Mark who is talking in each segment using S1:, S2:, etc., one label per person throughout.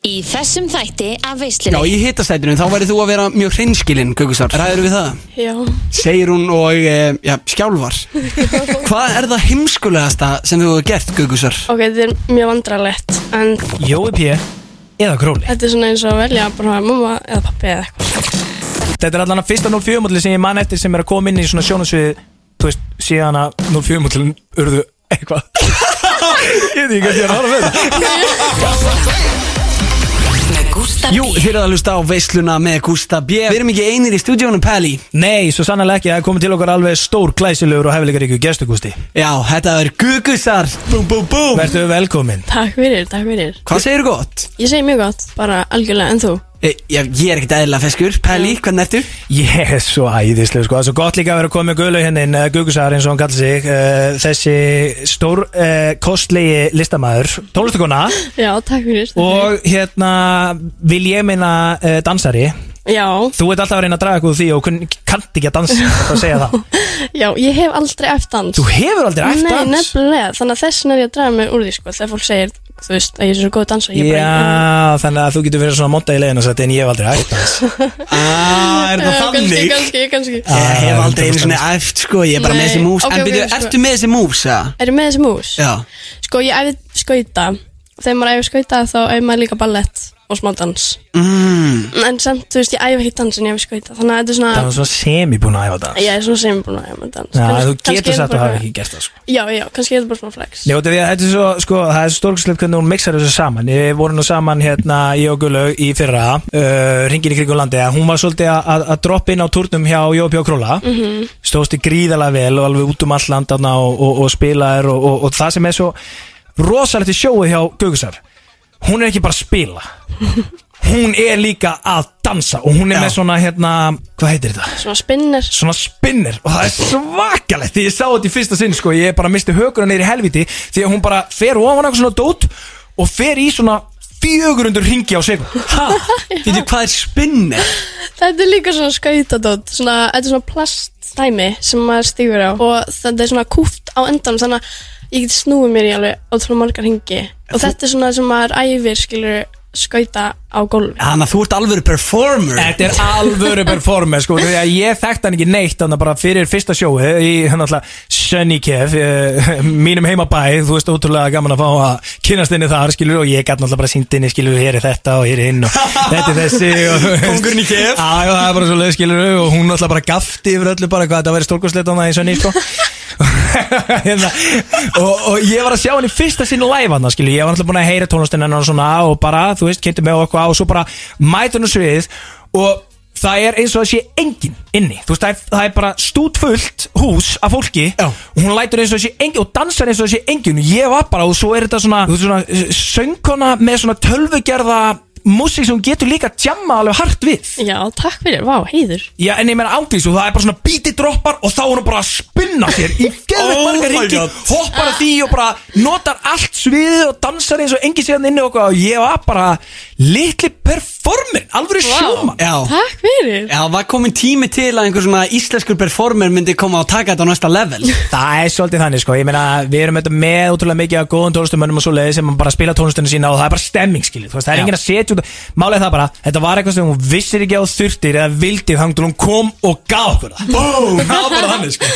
S1: Í þessum þætti af
S2: Já,
S1: veislunni
S2: í hittastætinu, þá væri þú að vera mjög hreinskilinn, Kökusar. Ræður við það?
S3: Já,
S2: Segir hún og, e, já, skjálfar. Hvað er það heimskulegasta sem þú hefur gert, Kökusar?
S3: ok, þetta er mjög vandralegt En
S4: Jói P. eða Króli
S3: þetta er svona eins og að velja bara hafa mamma eða pappi eða eitthvað
S4: Þetta er allan að fyrsta 04 mótli sem ég man eftir sem er að koma inn í svona sjónasvið Þú veist, síðan að 04 mótlin urðu eitthvað Ég veit ekki hvað ég er að um horfa með það
S5: Með Gústa
S2: Jú,
S5: B
S2: þið eruð að hlusta á veisluna með Gústa B. Við erum ekki einir í stúdíónu, Peli.
S4: Nei, svo sannarlega ekki, það er komið til okkar alveg stór glæsilegur og hefðleikaríku gestugústi
S2: Já, þetta er Kökusar. Búm, búm, búm.
S4: Vertu velkomin
S3: Takk fyrir, takk fyrir
S2: Hvað segir gott?
S3: Ég segi mjög gott, bara algjörlega, en þú?
S2: E, já, ég er ekkert eðla feskur. Peli, hvernig ertu?
S4: Ég er svo æðislega sko, það er svo gott líka að vera að koma með Guðlaug henni inn, eh, Gugusar eins og hann kallar sig uh, Þessi stór uh, kostlegi listamaður, tónlistakona
S3: Já, takk fyrir takk fyrir.
S4: Og hérna vil ég meina uh, dansari
S3: Já,
S4: Þú ert alltaf að reyna að draga eitthvað úr því og kun, kannt ekki að dansa, það segja það
S3: já, ég hef aldrei æft dans
S4: Þú hefur aldrei æft
S3: Nei,
S4: dans
S3: nefnilega, þannig að þessin er ég að draga mig úr því sko Þegar fólk segir, þú veist, að ég er svo góð dansa ég bara,
S4: Já, þannig að þú getur verið svona monta í leiðin og sagt en ég hef aldrei æft dans
S2: Ah, er
S3: Já, Eh, kannski, kannski, kannski
S2: Ah, Ég hef aldrei einu svona æft, sko, ég er bara
S3: Nei.
S2: með þessi mús.
S3: Ok,
S2: en
S3: ok,
S2: byrju,
S3: sko.
S2: ertu með þessi mús, að?
S3: Eru með þessi mús?
S2: Já.
S3: Sko, ég æfði skauta Þegar maður æfði skauta þá æfði maður líka ballett og smá dans
S2: Mm.
S3: En samt, þú veist, ég æfi ekki dans en ég æfi skauta Þannig að þetta er
S4: Það
S3: svona,
S4: var svona semi búin að æfa dans
S3: ég er svona sem búin að æfa með dans
S4: Já,
S3: Kanns-
S4: þú
S3: kannski
S4: getur
S3: er
S4: sagt
S3: það
S4: að
S3: bara-
S4: hafa ekki gert það sko
S3: Já, já, kannski er þetta bara svona flex
S4: Já, þetta er svo, sko, það er stórkslegt hvernig hún mixar þessu saman Ég voru nú saman, hérna, ég og Gullaug í fyrra uh, Ringin í kringum landi að Hún var svolítið að- að að droppa inn á turnum hjá Jópi og Króla mm -hmm. Stóðstu gríðalega vel og alveg út um all land þarna og, og, og spilaðir og, og, og það sem er svo rosalegt í sjóið hjá Gugusar Hún er ekki bara að spila Hún er líka að dansa og hún er
S2: Já.
S4: með svona, hérna, hvað heitir þetta?
S3: Svona spinner
S4: svona spinnir og það er svakalegt því ég sá þetta í fyrsta sinn sko ég bara misti hökuna neyri helviti því að hún bara fer ofan eitthvað svona dót og fer í svona 400 ringi á sekund
S2: Ha? Veitu, hvað er spinnir?
S3: Þetta er líka svona skautadót Svona, þetta er svona plastdæmi sem maður stígur á Og þetta er svona kúft á endanum Þannig að ég get snúið mér í alveg ótrúlega margar hengi Og þetta er svona sem maður æfir, skilur, skauta á gólfi
S2: Þannig að þú ert alvöru performer
S4: Þetta er alvöru performance sko því að ég þekkti hann ekki neitt þannig bara fyrir fyrsta sjói í hann alltaf Sunny Kev eh, mínum heimabæ þú veist ótrúlega gaman að fá að kynast henni þar skilur og ég gæti náttúrulega bara sínt henni skilur hér er þetta og hér er hinn og þetta er þessi og
S2: Kóngurinn í Kev.
S4: Já, já, það er bara svo leið skilur og hún náttúrulega bara gafti yfir öllu bara hvað þetta væri stórkostleit á það í Sunny sko Hérna, og, og ég var að sjá hann í fyrsta sinn live hann skilur, ég var alltaf búin að heyra tónlistin hennar og svona og bara, þú veist, kynnti mig og eitthvað og svo bara mæti hann á svið og það er eins og það sé enginn inni, þú veist, það er, það er bara stútfullt hús af fólki
S2: Já.
S4: og hún lætur eins og það sé enginn og dansar eins og það sé enginn og ég var bara og svo er þetta svona, þú veist, svona söngkona með svona tölvugerða músík sem hún getur líka tjamma alveg hart við
S3: Já, takk fyrir, vá, heiður
S4: Já, en ég meina ánglis og það er bara svona bíti droppar og þá er hún bara að spinna sér í geðveikt
S2: Oh
S4: marga
S2: my
S4: ringi,
S2: God.
S4: hoppar að því og bara notar allt sviðið og dansar eins og engi séðan inni og eitthvað og ég var bara litli performin, alvöru wow.
S2: Oh
S4: sjóman.
S2: Já,
S3: Takk fyrir
S2: já, var komin tími til að einhver svona íslenskur performer myndi koma og taka þetta á næsta level
S4: Það er svolítið þannig sko, ég meina við erum þetta með ótrúlega mikið af góðum tónlistumönnum og svo leiði sem bara spila tónlistunum sína og það er bara stemming skiljið, þú veist, það er
S2: Já.
S4: enginn að setja út, málega það bara, þetta var eitthvað sem hún vissir ekki á þurftir eða vildið þangt og hún kom og gaf okkur það. Búm, það var bara þannig sko.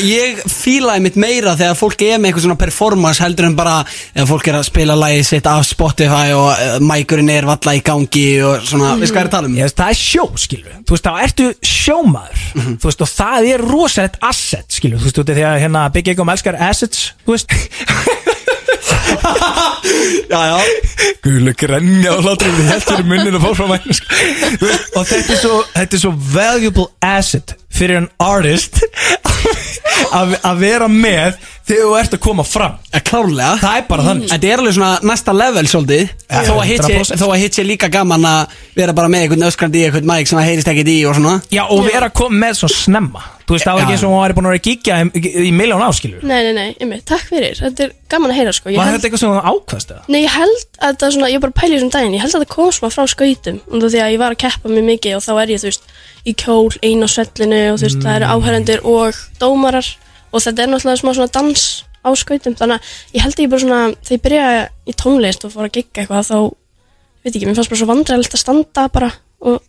S2: Ég fílaði mitt meira þegar fólk er með einhver svona performance heldur en bara ef fólk er að spila lagið sitt af Spotify og uh, mækurinn er valla í gangi og svona, veist hvað er að tala um?
S4: Ég veist, það er sjó, skilur Þú veist, þá ertu sjómaður Þú veist, og það er rosalegt asset, skilur Þú veist, út af því að hérna Big Egom elskar assets Þú veist
S2: Já, já,
S4: Gula grenja og látur við heldur í munnin og fór frá mæn Þú veist, og þetta er svo Þetta er svo valuable asset Fyrir en artist Að að vera með Þegar þú ert að koma fram
S2: Eh, klárlega
S4: Það er bara þannig
S2: Þetta er alveg svona næsta level svolítið
S4: Já,
S2: þó, að hitt sé-
S4: 100%.
S2: þó að hitt sé líka gaman að vera bara með einhvern öskrandi í einhvern mæk sem það heyrist ekkert í og svona
S4: Já, og vera að koma með svo snemma Þú veist, það var
S2: Já.
S4: ekki eins og hún var búin að vera að gíkja í, í miljón áskilur
S3: Nei, nei, nei, ymmið, takk fyrir Þetta er gaman að heyra sko Ég
S4: Var
S3: held-
S4: þetta eitthvað sem hún ákvæmst eða?
S3: Nei, ég held að þetta svona, ég bara pæli þessum daginn, ég held að það kom svona frá skautum og því að ég var að keppa mjög mikið og þá er ég, þú veist, í kjól, einn á svellinu og þú veist, það eru áhærendur og dómarar og þetta er náttúrulega smá svona dans á skautum, þannig að ég held að ég bara svona, þegar ég byrjaði í tónlist og fór að gigga eitthvað, þá veit ekki, mér fannst bara svo vandræðilegt að standa bara og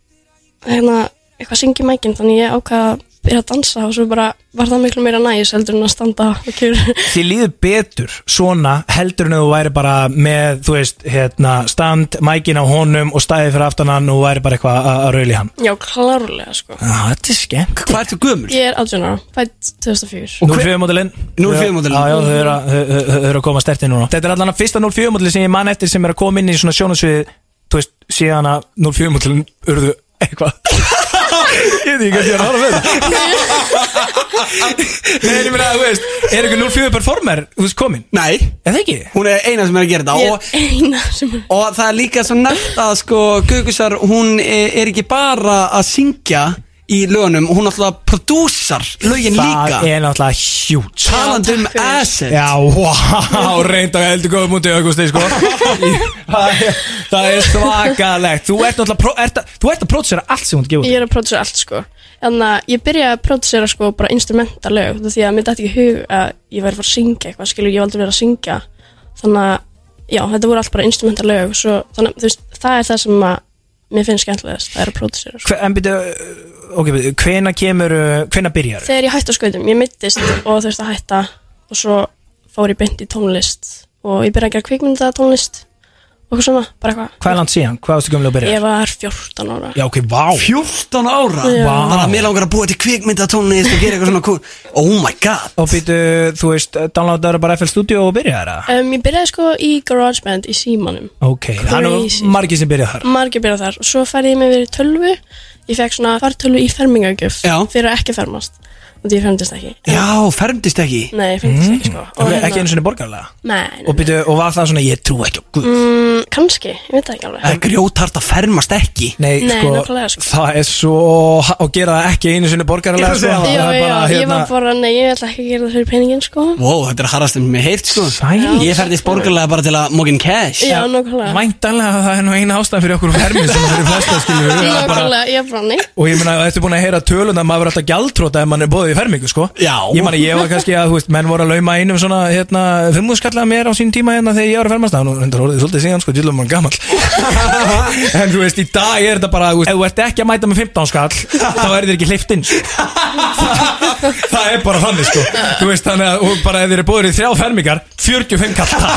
S3: hérna eitthvað syngi mækinn, þannig ég ákvað að byrja að dansa og svo bara var það miklu meira næs heldur en að standa og kjur
S4: Þið líður betur svona heldur en að þú væri bara með, þú veist, hérna, stand, mækin á honum og stæði fyrir aftan hann og þú væri bara eitthvað að- að rauli hann.
S3: Já, klárlega sko
S4: Já, þetta er skemmt.
S2: Hvað ertu gömur?
S3: Ég er 18 ára, fætt 2004
S4: Og 04 módulinn
S2: 04 módelin.
S4: Já, já, þau eru að- þau- þau- þau eru að koma stertið núna Þetta er allan að fyrsta 04 módulinn sem ég man eftir sem er að koma inn í svona sjónasvið Þú veist, síðan að 04 módulinn urðu eitthvað Ég veit ekki hvað ég er að um horfa með það Nei, en ég meina, þú veist, er ekki 04 performer, þú veist, komin?
S2: Nei,
S4: Er það ekki?
S2: hún er eina sem er að gera þetta
S3: Ég
S2: og,
S3: er eina sem er
S2: og það er líka svo nætt að sko Gugusar, hún er er ekki bara að syngja í lögunum Hún alltaf prodúsar lögin líka
S4: Það er náttúrulega hjút
S2: Talandi um
S3: Já, takk fyrir.
S2: asset
S4: Já, wow, reynd á eldur góðum mútið augusti, sko Það er- Það er svakalegt Þú ert náttúrulega, pró- ert að- þú ert að prótisera allt sem hún gefur
S3: Ég er að pródusera allt sko Þannig að ég byrjaði að pródusera sko bara instrumental lög út af Því að mér dætti ekki í hug að ég væri að fara að syngja eitthvað Skilur, ég valdur verið að syngja Þannig að, já, þetta voru allt bara instrumental lög svo, Þannig að, þú veist, það er það sem að Mér finnst skemmtilegast, það er að pródusera sko
S4: Hve- En byrju, uh, ok, byrju, hvena kemur, uh, hvena byrjar?
S3: Þegar ég hætti á skautum, ég mittist og þurfti að hætta Og svo fór ég beint í tónlist Og ég byrjaði að gera kvikmynda tónlist Og eitthvað svona, bara eitthvað
S4: Hvað er langt síðan? Hvað ástu gömlega að byrja?
S3: Ég var 14 ára
S4: Já, ok, vá
S2: 14 ára
S3: Já.
S4: Vá.
S2: Bara mér langar að búa til kvikmyndatónlist og gera eitthvað svona cool Oh my god
S4: Og byrju, þú veist, uh, downloadaður bara FL Studio og byrjaði það?
S3: um, Ég byrjaði sko í GarageBand í símanum
S4: Ok, hann er
S3: Crazy.
S4: margir sem byrjaði þar
S3: margir byrjað þar og svo færði ég mig verið í tölvu ég fekk svona fartölvu í fermingagjöf
S2: Já.
S3: fyrir að ekki fermast og því ég fermdist ekki
S2: Já, fermdist ekki
S3: nei, ég fermdist ekki sko og
S4: Mm. Ekki einu sinni borgarlega
S3: nei,
S4: Og
S3: nei,
S4: byrju, og var það svona, ég trú ekki á Guð
S3: mm, kannski, ég veit það ekki alveg
S2: Það er grjótart að fermast ekki
S4: Nei,
S3: Nei,
S4: sko,
S3: nákvæmlega, sko.
S4: það er svo og gera það ekki einu sinni borgarlega sko,
S3: já,
S4: það
S3: já,
S4: er bara,
S3: ég var bara, nei, ég ætla ekki að gera það fyrir peningin sko
S2: Wow, þetta er harðast um mig heyrt sko
S4: Sæl
S2: Ég ferðist borgarlega bara til að mókin cash
S3: já, nákvæmlega
S4: Væntanlega að það er nú eina ástæðan fyrir okkur fermi sem það eru flesta skilur við, að bara-
S3: nákvæmlega, ég bara, nei
S4: Og ég meina, þetta er búin að heyra tölun að maður er alltaf gjaldtróta ef mann er bóðið í fermingu, sko
S2: Já.
S4: Ég meina, ég var kannski að, þú veist, menn voru að lauma einum svona, hérna, fimmúðskallaða mér á sín tíma hérna þegar ég var að fermast Það nú hendur orðið svolítið síðan, sko, djúlum mann gamall En þú veist, í dag er þetta bara, þú veist, ef þú ert ekki að mæta með 15 skall Þá er þér ekki hleyft inn, sko Það er bara þannig sko Þú veist þannig að og bara ef þeir eru búður í þrjá fermingar 45 kalla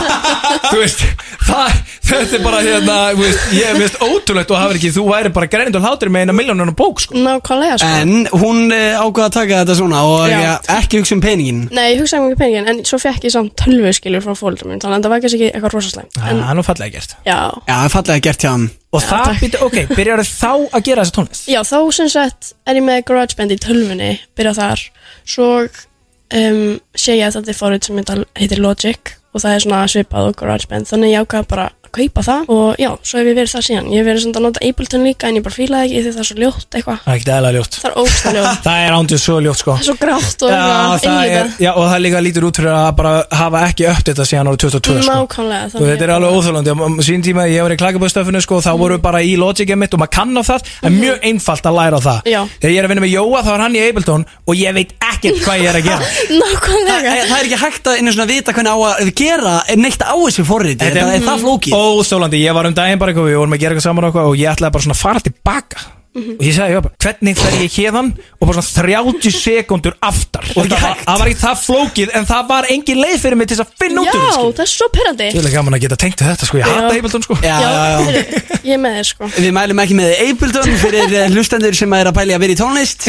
S4: Þú veist það, Þetta er bara hérna þú veist, Ég veist ótrúlegt og hafði ekki Þú væri bara grænind og hlátur með eina miljónun og bók sko
S3: nákvæmlega sko
S2: En hún eh, ákvað að taka þetta svona og
S3: Já.
S2: ja, ekki hugsa um peningin
S3: nei, ég hugsaði mjög peningin en svo fekk ég samt tölvu skilur frá fólkdur minn þannig að það var kannski ekki eitthvað rosaslæmt
S4: Það
S3: en
S4: er nú fallega gert
S3: já,
S2: Já, það er fallega gert hjá hann
S4: Og það býtti, ok, byrjar þá að gera þessa tónlist
S3: Já, þá sem sagt er ég með GarageBand í tölvunni, byrja þar svo um, sé ég að þetta er forrið sem heita- heitir Logic og það er svona svipað og GarageBand þannig ég ákvað bara að kaupa það og já, svo hef ég verið það síðan, ég hef verið svona að nota Ableton líka en ég bara fílaði ekki því það er svo ljótt eitthvað
S4: Það er ekki eðla ljótt
S3: það er ógsta ljótt,
S4: Það er ándið svo ljótt sko
S3: það er svo grátt og
S4: Já, það er,
S3: innlítið
S4: já, og það líka lítur út fyrir að bara hafa ekki uppdata síðan árið 2002 sko.
S3: nákvæmlega hérna.
S4: og þetta er alveg óþjólandi sín tíma ég var í klakaböðstöfinu sko, þá vorum við bara í logicið mitt og maður kann á það en mjög einfalt að læra á það
S3: Já.
S4: þegar ég er að vinna með Jóa þá er hann í Ableton og ég veit ekkert hvað ég er að gera
S2: Það
S3: nákvæmlega,
S2: er það er ekki hægt að einu svona vita hvernig á að gera neitt á þessu forriti Þetta er mm. það flókið
S4: óþjólandi, ég var um daginn bara eitthvað við vorum að gera eitthvað saman og eitthvað og ég ætlaði bara svona að fara tilbaka og ég sagði, já, bara, hvernig fer ég hérðan og bara svona 30 sekundur aftar og
S2: er ekki
S4: það, var-
S2: hægt.
S4: það var ekki það flókið en það var engin leið fyrir mig til þess að finna út úr
S3: já,
S4: þessu sko.
S3: það er svo perandi
S4: Ég vil ekki gaman að geta tengt við þetta sko, ég hata
S3: Já.
S4: Ableton sko
S2: Já, já, já
S3: heyrðu, ég er með þér sko
S2: Við mælum ekki með Ableton fyrir eh, hlustendur sem er að pæli að vera í tónlist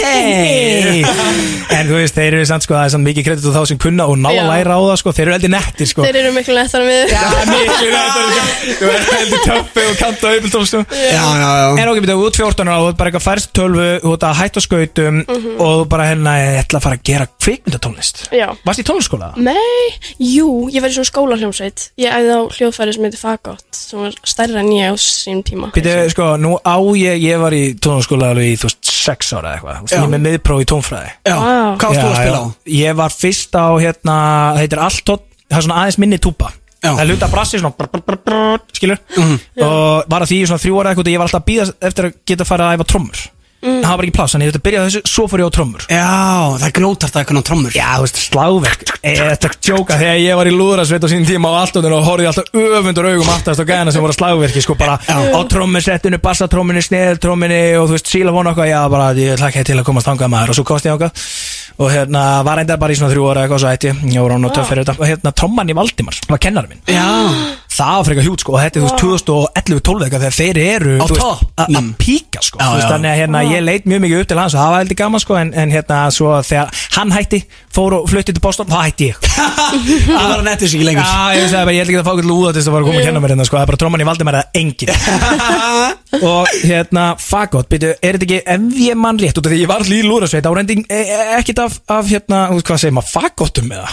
S2: Nei
S4: En þú veist, þeir eru samt sko, það er samt mikið kredit og þá sem kunna og ná að
S3: Já.
S4: læra á það sko, þeir eru eldi nettir sko
S3: þeir eru miklu lettar með
S4: Já, mikið nettir Þú ert eldi töffi og kanta auðvitað sko
S2: Já, já, já
S4: En ok, betur, þú ert 14 ára, þú ert bara eitthvað færst tölvu, þú ert að hætta á skautum
S3: Mhm.
S4: og þú bara hérna, ég ætla að fara að gera kvikmyndatónlist
S3: Já.
S4: Varst í tónliskóla?
S3: Nei, jú, ég var í svona skóla hljómsveit Ég æði á hljóðfæri sem heitir Fagot sem var stærra en ég á sínum tíma
S4: Býtu, sko, nú á ég, ég var í tónliskóla alveg í, þú veist, 6 ára eða eitthvað Þú veist, Ég er með miðpróf í tónfræði
S2: Já,
S3: Vá.
S2: hvað ástu að
S4: Já,
S2: spila á?
S4: já. Ég var fyrst á hérna, það heitir Alltótt, það er svona aðeins minni túpa
S2: Já.
S4: Það er luta brassi svona brr, brr, brr,
S2: Mhm.
S4: brr, skilur og var að því í svona þrjú ára eitthvað og ég var alltaf að býða eftir að geta farið að æfa trommur það var bara ekki pláss, þannig ég þurfti að byrja á þessu, svo fór ég á trommur
S2: Já, það er grjótart að eitthvað trommur
S4: Já, þú veist, slávek Þetta er tjóka þegar ég var í lúðrasveit á sínum tíma á alltunum og horfði alltaf öfundur augum aftast á gæðina sem voru að slávverki sko bara á trommusettinu, bassatróminu, sneðiltróminu og þú veist, sílafón okkar, já bara ég ætla ekki til að komast þangað maður og svo kosti ég okkar og hérna var reyndar bara í svona þrjú ára eitthvað svo ætti, ég, ég voru án og töff fyrir þetta og hérna tromman í Valdimar var kennar minn
S2: Já,
S4: það var frekar hjút sko og þetta er þú veist 2011-12 eitthvað þegar þeir eru
S2: Á
S4: þú veist,
S2: toppnum.
S4: að- að píka sko
S2: Já,
S4: Þú veist,
S2: já.
S4: þannig að hérna ég leit mjög mikið upp til hans og það var heldur gaman sko en, en hérna svo þegar hann hætti fór og flutti til Boston þá hætti ég
S2: það var að netta þessu ekki lengur
S4: Já, ég veist það, bara, ég held ekki að fá eitthvað lúða til þess að fara að koma að kenna mér hérna sko, það er bara tróman í Valdimar eða engin og hérna, fagot, byrju, er þetta ekki ef ég mann rétt út af því ég var allir í lúðrasveit á reynding, e e ekkit af, af hérna, þú veist, hvað segir maður, fagotum eða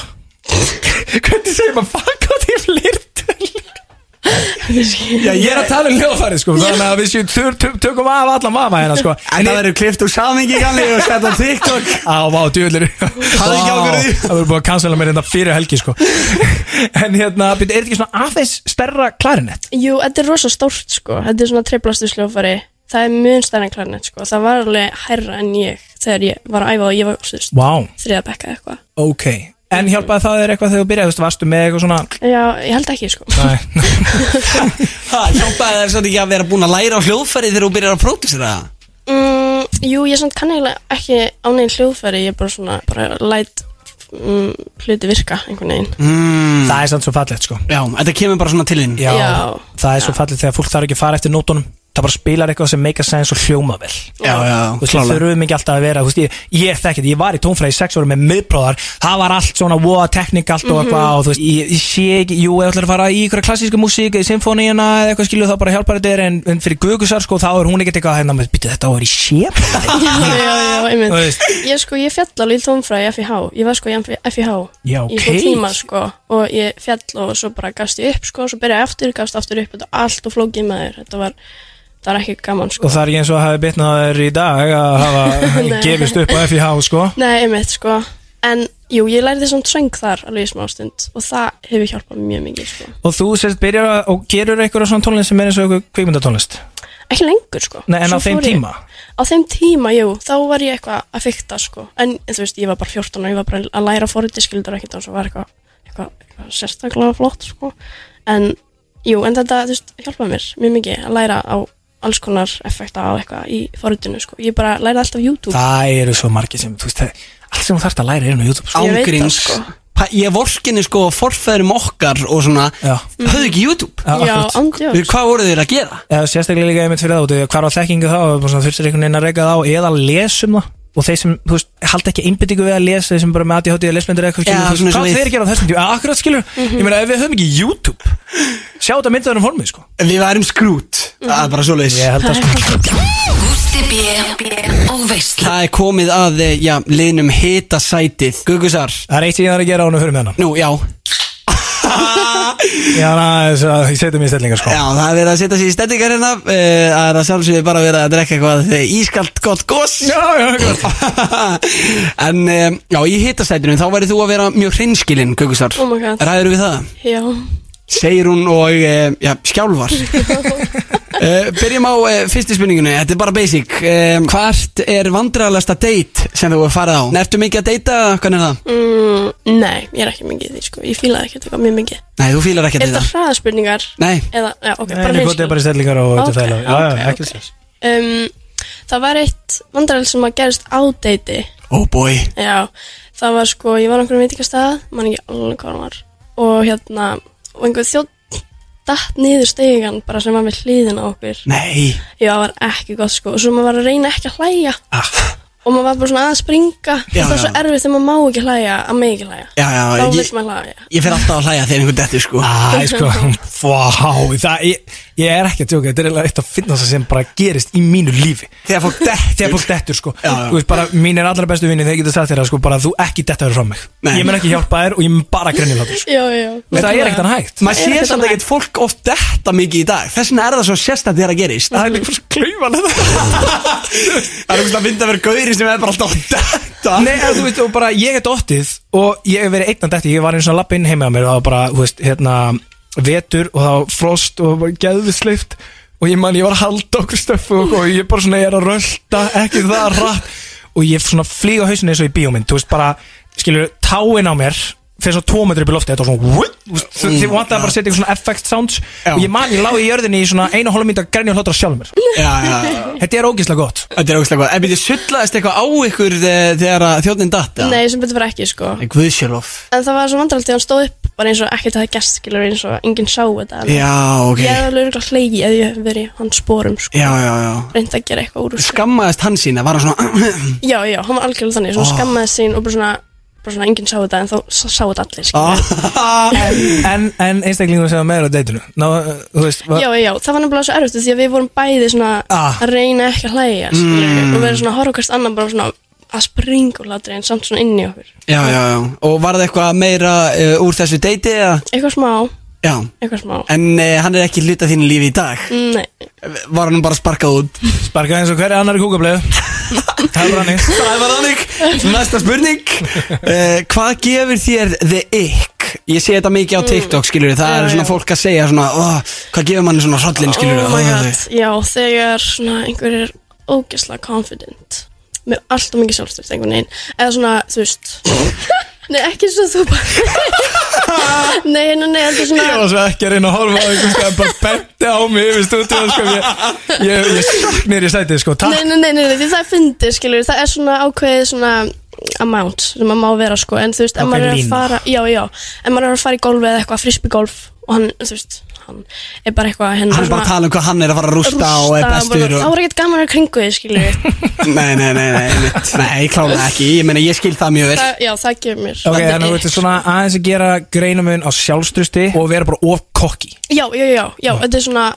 S4: hvernig segir maður fagot í flirtölu Já, ég er að tala um hljóðfæri sko, þannig að við séum tör- tök- tökum af allan vafa hérna sko
S2: En það verður klift úr samingi ganni og sett á um TikTok
S4: Á, vá, djúðlir
S2: Hafði ekki ákvörðun í því.
S4: Það verður búið að cancela mér hérna fyrir helgi sko En hérna, byrju, er þetta ekki svona aðeins stærra klarinett?
S3: Jú, þetta er rosa stórt sko, þetta er svona triplastur sljófari, það er mjög stærn en klarnett sko, það var alveg hærra en ég þegar ég var að æfa og ég var sérst,
S4: Vá,
S3: þriða bekka eitthvað.
S4: ok En hjálpaði það þér eitthvað þegar þú byrjaði, þú veist, varstu með eitthvað svona
S3: Já, ég held ekki sko.
S2: Mm.
S4: Nei,
S2: Það hjálpaði þér svolítið ekki að vera búin að læra á hljóðfæri þegar þú byrjar að pródúsera það
S3: Mm, jú, ég samt kann eiginlega ekki á neginn hljóðfæri, ég er bara svona, bara læt mm, hluti virka einhvern veginn.
S2: mm.
S4: það er sann svo fallegt sko
S2: Já, þetta kemur bara svona til þín
S4: Já,
S3: Já.
S4: það er svo fallegt þegar fólk þarf ekki að fara eftir nótunum Það bara spilar eitthvað sem make a sense og hljóma vel
S2: já, já
S4: Þú veist, við
S2: klálega.
S4: þurfum ekki alltaf að vera, þú veist, ég, ég þekki þetta, ég var í tónfræði í sex ára með miðbróðar, það var allt svona voða teknikalt
S3: Mhm.
S4: og eitthvað og þú veist, ég, ég sé ekki, jú, ef þú ætlar að fara í ykkur klassíska músík, í symfóníuna eða eitthvað skilur þá bara hjálpar þetta er en, en fyrir Gugusar sko, þá er hún ekkert eitthvað, hérna, býttu þetta á að vera í sé
S3: já, já, já, einmitt.
S4: Þú veist.
S3: Ég sko, ég fjall alveg í tónfræði í FIH, ég var sko í FIH
S4: Já,
S3: í
S4: ok.
S3: tvo tíma sko og ég fjall og svo bara gafst ég upp sko og svo byrjaði ég aftur, gafst aftur upp, þetta var allt og flókið með þér, þetta var, það var ekki gaman
S4: og
S3: sko.
S4: það er ekki eins og að hafi bitnaður í dag að hafa
S3: Nei.
S4: gefist upp á FIH sko
S3: Nei, einmitt sko, en jú, ég lærði samt söng þar alveg í smá stund og það hefur hjálpað mér mjög mikið sko.
S4: og þú sérst byrjar að, og gerur eitthvað svona tónlist sem er eins og eitthvað kvikmyndatónlist
S3: Ekki lengur sko.
S4: Nei, en
S3: Svo
S4: á þeim
S3: fór ég-
S4: tíma?
S3: Á þeim tíma, jú, þá var ég eitthvað að fykta sko. En þú veist, ég var bara 14 og ég var bara að læra forriti skildar ekkert og svo var eitthvað, eitthvað, eitthvað sérstaklega flott sko. En jú, en þetta, þú veist, hjálpaði mér mjög mikið að læra á alls konar effekta á eitthvað í forritinu sko. Ég bara læraði alltaf YouTube.
S4: það eru svo margir sem, þú veist, það- allt sem þú þarft að læra er inn á YouTube sko.
S3: Ég veit það,
S2: Ángríns
S3: sko.
S2: Pa- Ég vorkinni sko forfæðurum okkar og svona
S4: Já.
S2: Höfðu ekki YouTube
S4: Já,
S3: Já,
S4: akkurat.
S2: Við,
S3: andjóks.
S2: Hvað voru þeir að gera?
S4: eða sérstaklega líka einmitt fyrir það út af því að hvar á þekkingu þá og svona þurftir einhvern veginn að reyka það á eða lesum það og þeir sem, þú veist, halda ekki einbyttingu við að lesa þeir sem bara með ADHD eða lesmyndir eða eitthvað
S2: Já,
S4: skilur, þú
S2: svona
S4: veist, hvað
S2: eins og við. Mhm.
S4: þeir gera á þessum tíu, akkurat skilur, ég meina ef við höfum ekki YouTube sjá þetta myndið þennum formið, sko
S2: Við værum skrút Það er bara svoleiðis
S4: ég held að sko,
S5: Gústi B og Veisla
S2: Það er komið að, eh, já, liðnum hita sætið Gugusar
S4: það er eitt sem ég þarf að gera á hann og hörum hennan
S2: Nú, já
S4: já, na, þess að ég setja mér í stellingar, sko
S2: Já, það er verið að setja sér í stendingar hérna eh, Það er að sjálfsögðu bara verið að drekka eitthvað eh, Ískalt gott gos
S4: já, já, akkurat.
S2: En, um, já, í hitastætinu Þá verður þú að vera mjög hreinskilinn, Gugusar
S3: Oh my god.
S2: Ræður við það?
S3: Já.
S2: Segir hún og, eh, já, skjálfar uh, Byrjum á uh, fyrstu spurningunni Þetta er bara basic um, Hvart er vandræðalegasta date sem þú er farið á? Ertu mikið að deyta, hvernig er það?
S3: Mm, nei, ég er ekki mikið í því sko. Ég fílaði ekkert eitthvað mjög mikið.
S2: Nei, þú fílar ekki
S3: Er
S2: að
S3: þetta
S2: deyta
S3: hraðaspurningar?
S2: Nei,
S3: Eða, já, ok,
S4: hérna- Nei, nei, gott,
S3: hreinskilin.
S4: ég er bara í stellingar og þetta
S3: Ok,
S4: er þægilega. Já, já,
S3: ok,
S4: ekkert
S3: ok.
S4: stress.
S3: um, það var eitt vandræl sem að gerist á deiti
S2: oh boy
S3: já, það var sko, ég var á einhverjum veitingastað mann ekki alveg hvað hann var og hérna, og einhver þjótt datt niður stegan bara sem var við hliðin á okkur
S2: Nei
S3: já, það var ekki gott sko, og svo maður var að reyna ekki að hlæja
S2: ah.
S3: og maður var bara svona að springa
S2: Já,
S3: það var svo
S2: já.
S3: erfitt þegar maður má ekki hlæja að mig ekki hlæja
S2: Já, já,
S3: þá
S2: ég-
S3: vill maður hlæja
S2: Ég fer alltaf að hlæja þegar einhvern dettur, sko
S4: Æ, sko, vá, það, ég, ég er ekki að tjóka, þetta er eiginlega eitt að finna það sem bara gerist í mínu lífi.
S2: Þegar fólk dettur
S4: þegar fólk dettur sko
S2: Já, já.
S4: Þú veist bara, mínir allra bestu vinni þeir geta sagt þér að sko bara þú ekki dettaður frá mig
S2: Nei.
S4: ég mun ekki hjálpa þér og ég mun bara grenni látur sko.
S3: já, já,
S4: Þú veist, það er ekkert hann hægt
S2: Maður
S3: Er
S2: sér
S3: þetta
S2: samt
S3: bara-
S2: ekkert fólk oft detta mikið í dag Þess vegna er það svo sérstætt þegar það gerist
S4: það er líka fyrir klöyfan
S2: Það er einhvern veginn að vera gauri sem er bara alltaf að detta
S4: Nei, en þú veist, og bara ég er dottið og ég hef verið einn að detti, ég var eins og að lappa inn heima á mér og það var bara, þú veist, hérna vetur og þá frost og bara geðvisleift og ég man ég var að halda okkur stöffu og, og ég bara svona ég er að rölda ekki það rætt og ég svona flýg á hausinu eins og í bíómynd þú veist bara, skilur, táin á mér fyrir svona 2 metri upp í lofti þetta var svona wutt, þú veist, þið vantaði bara að setja eitthvað svona effect sounds
S2: Mm, Já.
S4: og ég man ég lág í jörðinni í svona einu hólum mynd að grenja hlotra sjálf mér
S2: já, já
S4: þetta er ógislega gott
S2: Þetta er ógæslega góð En byrju, sullaðist eitthvað á ykkur eh, þegar að þjóðnin datt eða?
S3: Nei, sem betur bara ekki, sko
S2: Nei Guðsjálf
S3: En það var svo vandralt þegar hann stóð upp bara eins og ekkert að það gerst, skilur eins og enginn sá þetta en
S2: Já, ok
S3: Ég
S2: Já,
S3: hefði alveg örugglega hlegið ef ég hefði verið í hans spórum, sko
S2: já, já
S3: Reyndi að gera eitthvað úr úr
S2: Skammaðist hann sína, var hann svona
S3: Já, já, hann var algjörlega þannig, svona
S4: Ah.
S2: Oh.
S3: skammaði sín og bara svona, bara svona enginn sá þetta en þá s- sá þetta allir, skilur
S2: Ah.
S4: en, en einstaklingur sem var með þér á deitinu Ná, uh, þú veist, var,
S3: Já, já, það var nefnilega svo erfitt því að við vorum bæði svona
S4: Ah.
S3: að reyna ekki að hlæja mm. og vera svona að horfa hvers annan bara svona að springa úr hlátri en samt svona inn í okkur
S2: Já, já, já Og var það eitthvað meira uh, úr þessu deiti eða?
S3: Eitthvað smá,
S2: Já
S3: eitthvað smá
S2: En uh, hann er ekki hluta þínu lífi í dag
S3: Nei,
S2: Var hann bara sparkað út
S4: sparkaði eins og hverja annar í kúkablöðu það var hannig
S2: Það var þannig Næsta spurning uh, Hvað gefur þér the ick? Ég sé þetta mikið á TikTok, skilur Það
S3: Mm. Já,
S2: er svona
S3: já.
S2: fólk að segja svona "Oh, Hvað gefur manni svona hrollin, skilur
S3: oh my god Já, þegar svona einhver er ógeðslega confident með allt og mikið sjálfstyrst einhvern veginn eða svona, þú veist Nei, ekki svo þú bara Nei, nei, nei, þetta er
S4: Ég
S3: svona
S4: var svo ekki að reyna að horfa á einhvern skam bara benti á mig yfir stúdíu sko. ég, ég, ég sökk nýr í sætið sko,
S3: Nei,
S4: takk
S3: nei, nei, nei, nei, því það er fyndið, skilur, það er svona ákveðið svona amount sem maður má vera, sko, en þú veist, ef
S4: Ákveðin
S3: maður er að
S4: lína.
S3: fara, já, já, ef maður er að fara í golfi eða eitthvað, frisbygolf og hann, þú veist, hann er bara eitthvað, hérna henn
S2: Hann er bara að tala um hvað hann er að fara að rústa og er bestur
S3: og...
S2: og...
S3: Það var ekkert gaman að vera í kringu þið, skilur,
S2: Nei, nei, nei, nei, einmitt. nei, klálega ekki Ég meina, ég skil það mjög vel
S3: það, já, það gefur mér.
S4: Ok,
S3: það er
S4: þannig að þú
S3: ick.
S4: veitir svona aðeins að gera greinamun á sjálfstrusti og vera bara of kokki
S3: Já, já, já, já, þetta er svona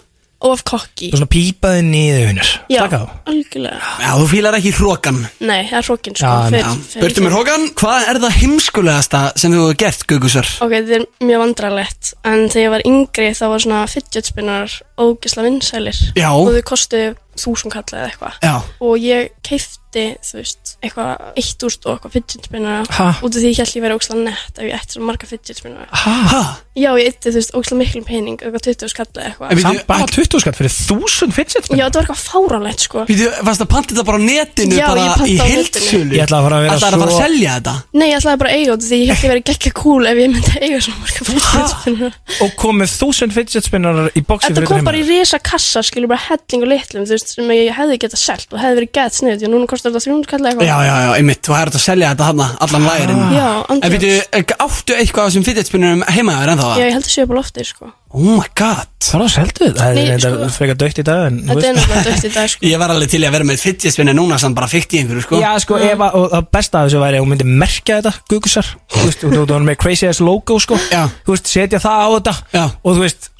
S3: of cocky.
S4: og svona pípaði niður hunur
S3: Já,
S4: Takk á
S3: algjörlega.
S2: Já, þú fílar ekki hrókan
S3: Nei, það er hrókin, sko,
S4: Já,
S3: fer-
S2: Já,
S3: fer-
S2: burtu mér hrókan Hvað er það heimskulegasta sem þú hefur gert, Gugusar?
S3: Ok, þetta er mjög vandralett en þegar ég var yngri þá var svona fidget spinnar ógisla vinsælir
S2: Já.
S3: og þau kostu þúsund kalla eða eitthvað
S2: Já,
S3: og ég keifti, þú veist, eitthvað eitt úrst og eitthvað fidget spinnar
S4: Ha?
S3: út af því ég held ég verið ógisla nett ef ég ætti svo marga fidget spinnar
S2: ha,
S3: Já, ég eitti, þú veist, ógisla miklum pening eitthvað 20 kalla
S2: En
S3: eða eitthvað
S2: við-
S4: Samt bara 20 skatt fyrir 1000 fidget
S3: Já,
S4: spinner
S3: þetta var eitthvað fáránlegt, sko
S2: við þú, varst að panta þetta bara á netinu
S3: Já, ég
S2: bara
S3: pantaði
S2: í
S3: á
S2: heildsölu
S4: Ég ætla að fara að vera
S2: Ætlaðir að fara að
S4: svo-
S2: selja þetta
S3: Nei, ég ætlaði bara að eiga út af því ég held ég verið geggja cool ef ég myndi eiga svo marga fidget spinnar
S4: og komið 1000 fidget spinnar í boxi
S3: Þetta
S4: fyrir
S3: kom bara í
S4: heimilið.
S3: risa kassa, skilur bara helling og litlum, þú veist, sem ég hefði getað selt og hefði verið gett sniðið, því að núna kostar þetta 300 kallar eitthvað.
S2: Já, já, já, einmitt, þú hefur þetta að selja þetta hana allan lærin
S3: Ah. Já,
S2: En
S3: andjóks.
S2: við þú, áttu eitthvað af þessum fidgetspinnum heima þér ennþá?
S3: Já, ég held að séu upp á loftið, sko.
S2: Oh my god
S4: Það var að seldu þetta Það
S3: Nei,
S4: er
S3: sko-
S4: þetta frekar dögt í dag en, þú
S3: Þetta
S4: veist.
S3: er náttúrulega dögt í dag, sko.
S2: Ég var alveg til í að vera með fidgetspinni núna sem bara fyrt í einhverju, sko
S4: Já, sko, ef að, og það besta af þessu væri að hún myndi merkja þetta, gugusar Þú veist, og þú veist, hún er með crazy ass logo, sko
S2: Já.
S4: Þú veist, setja það á þetta
S2: Já.
S4: Og þú veist,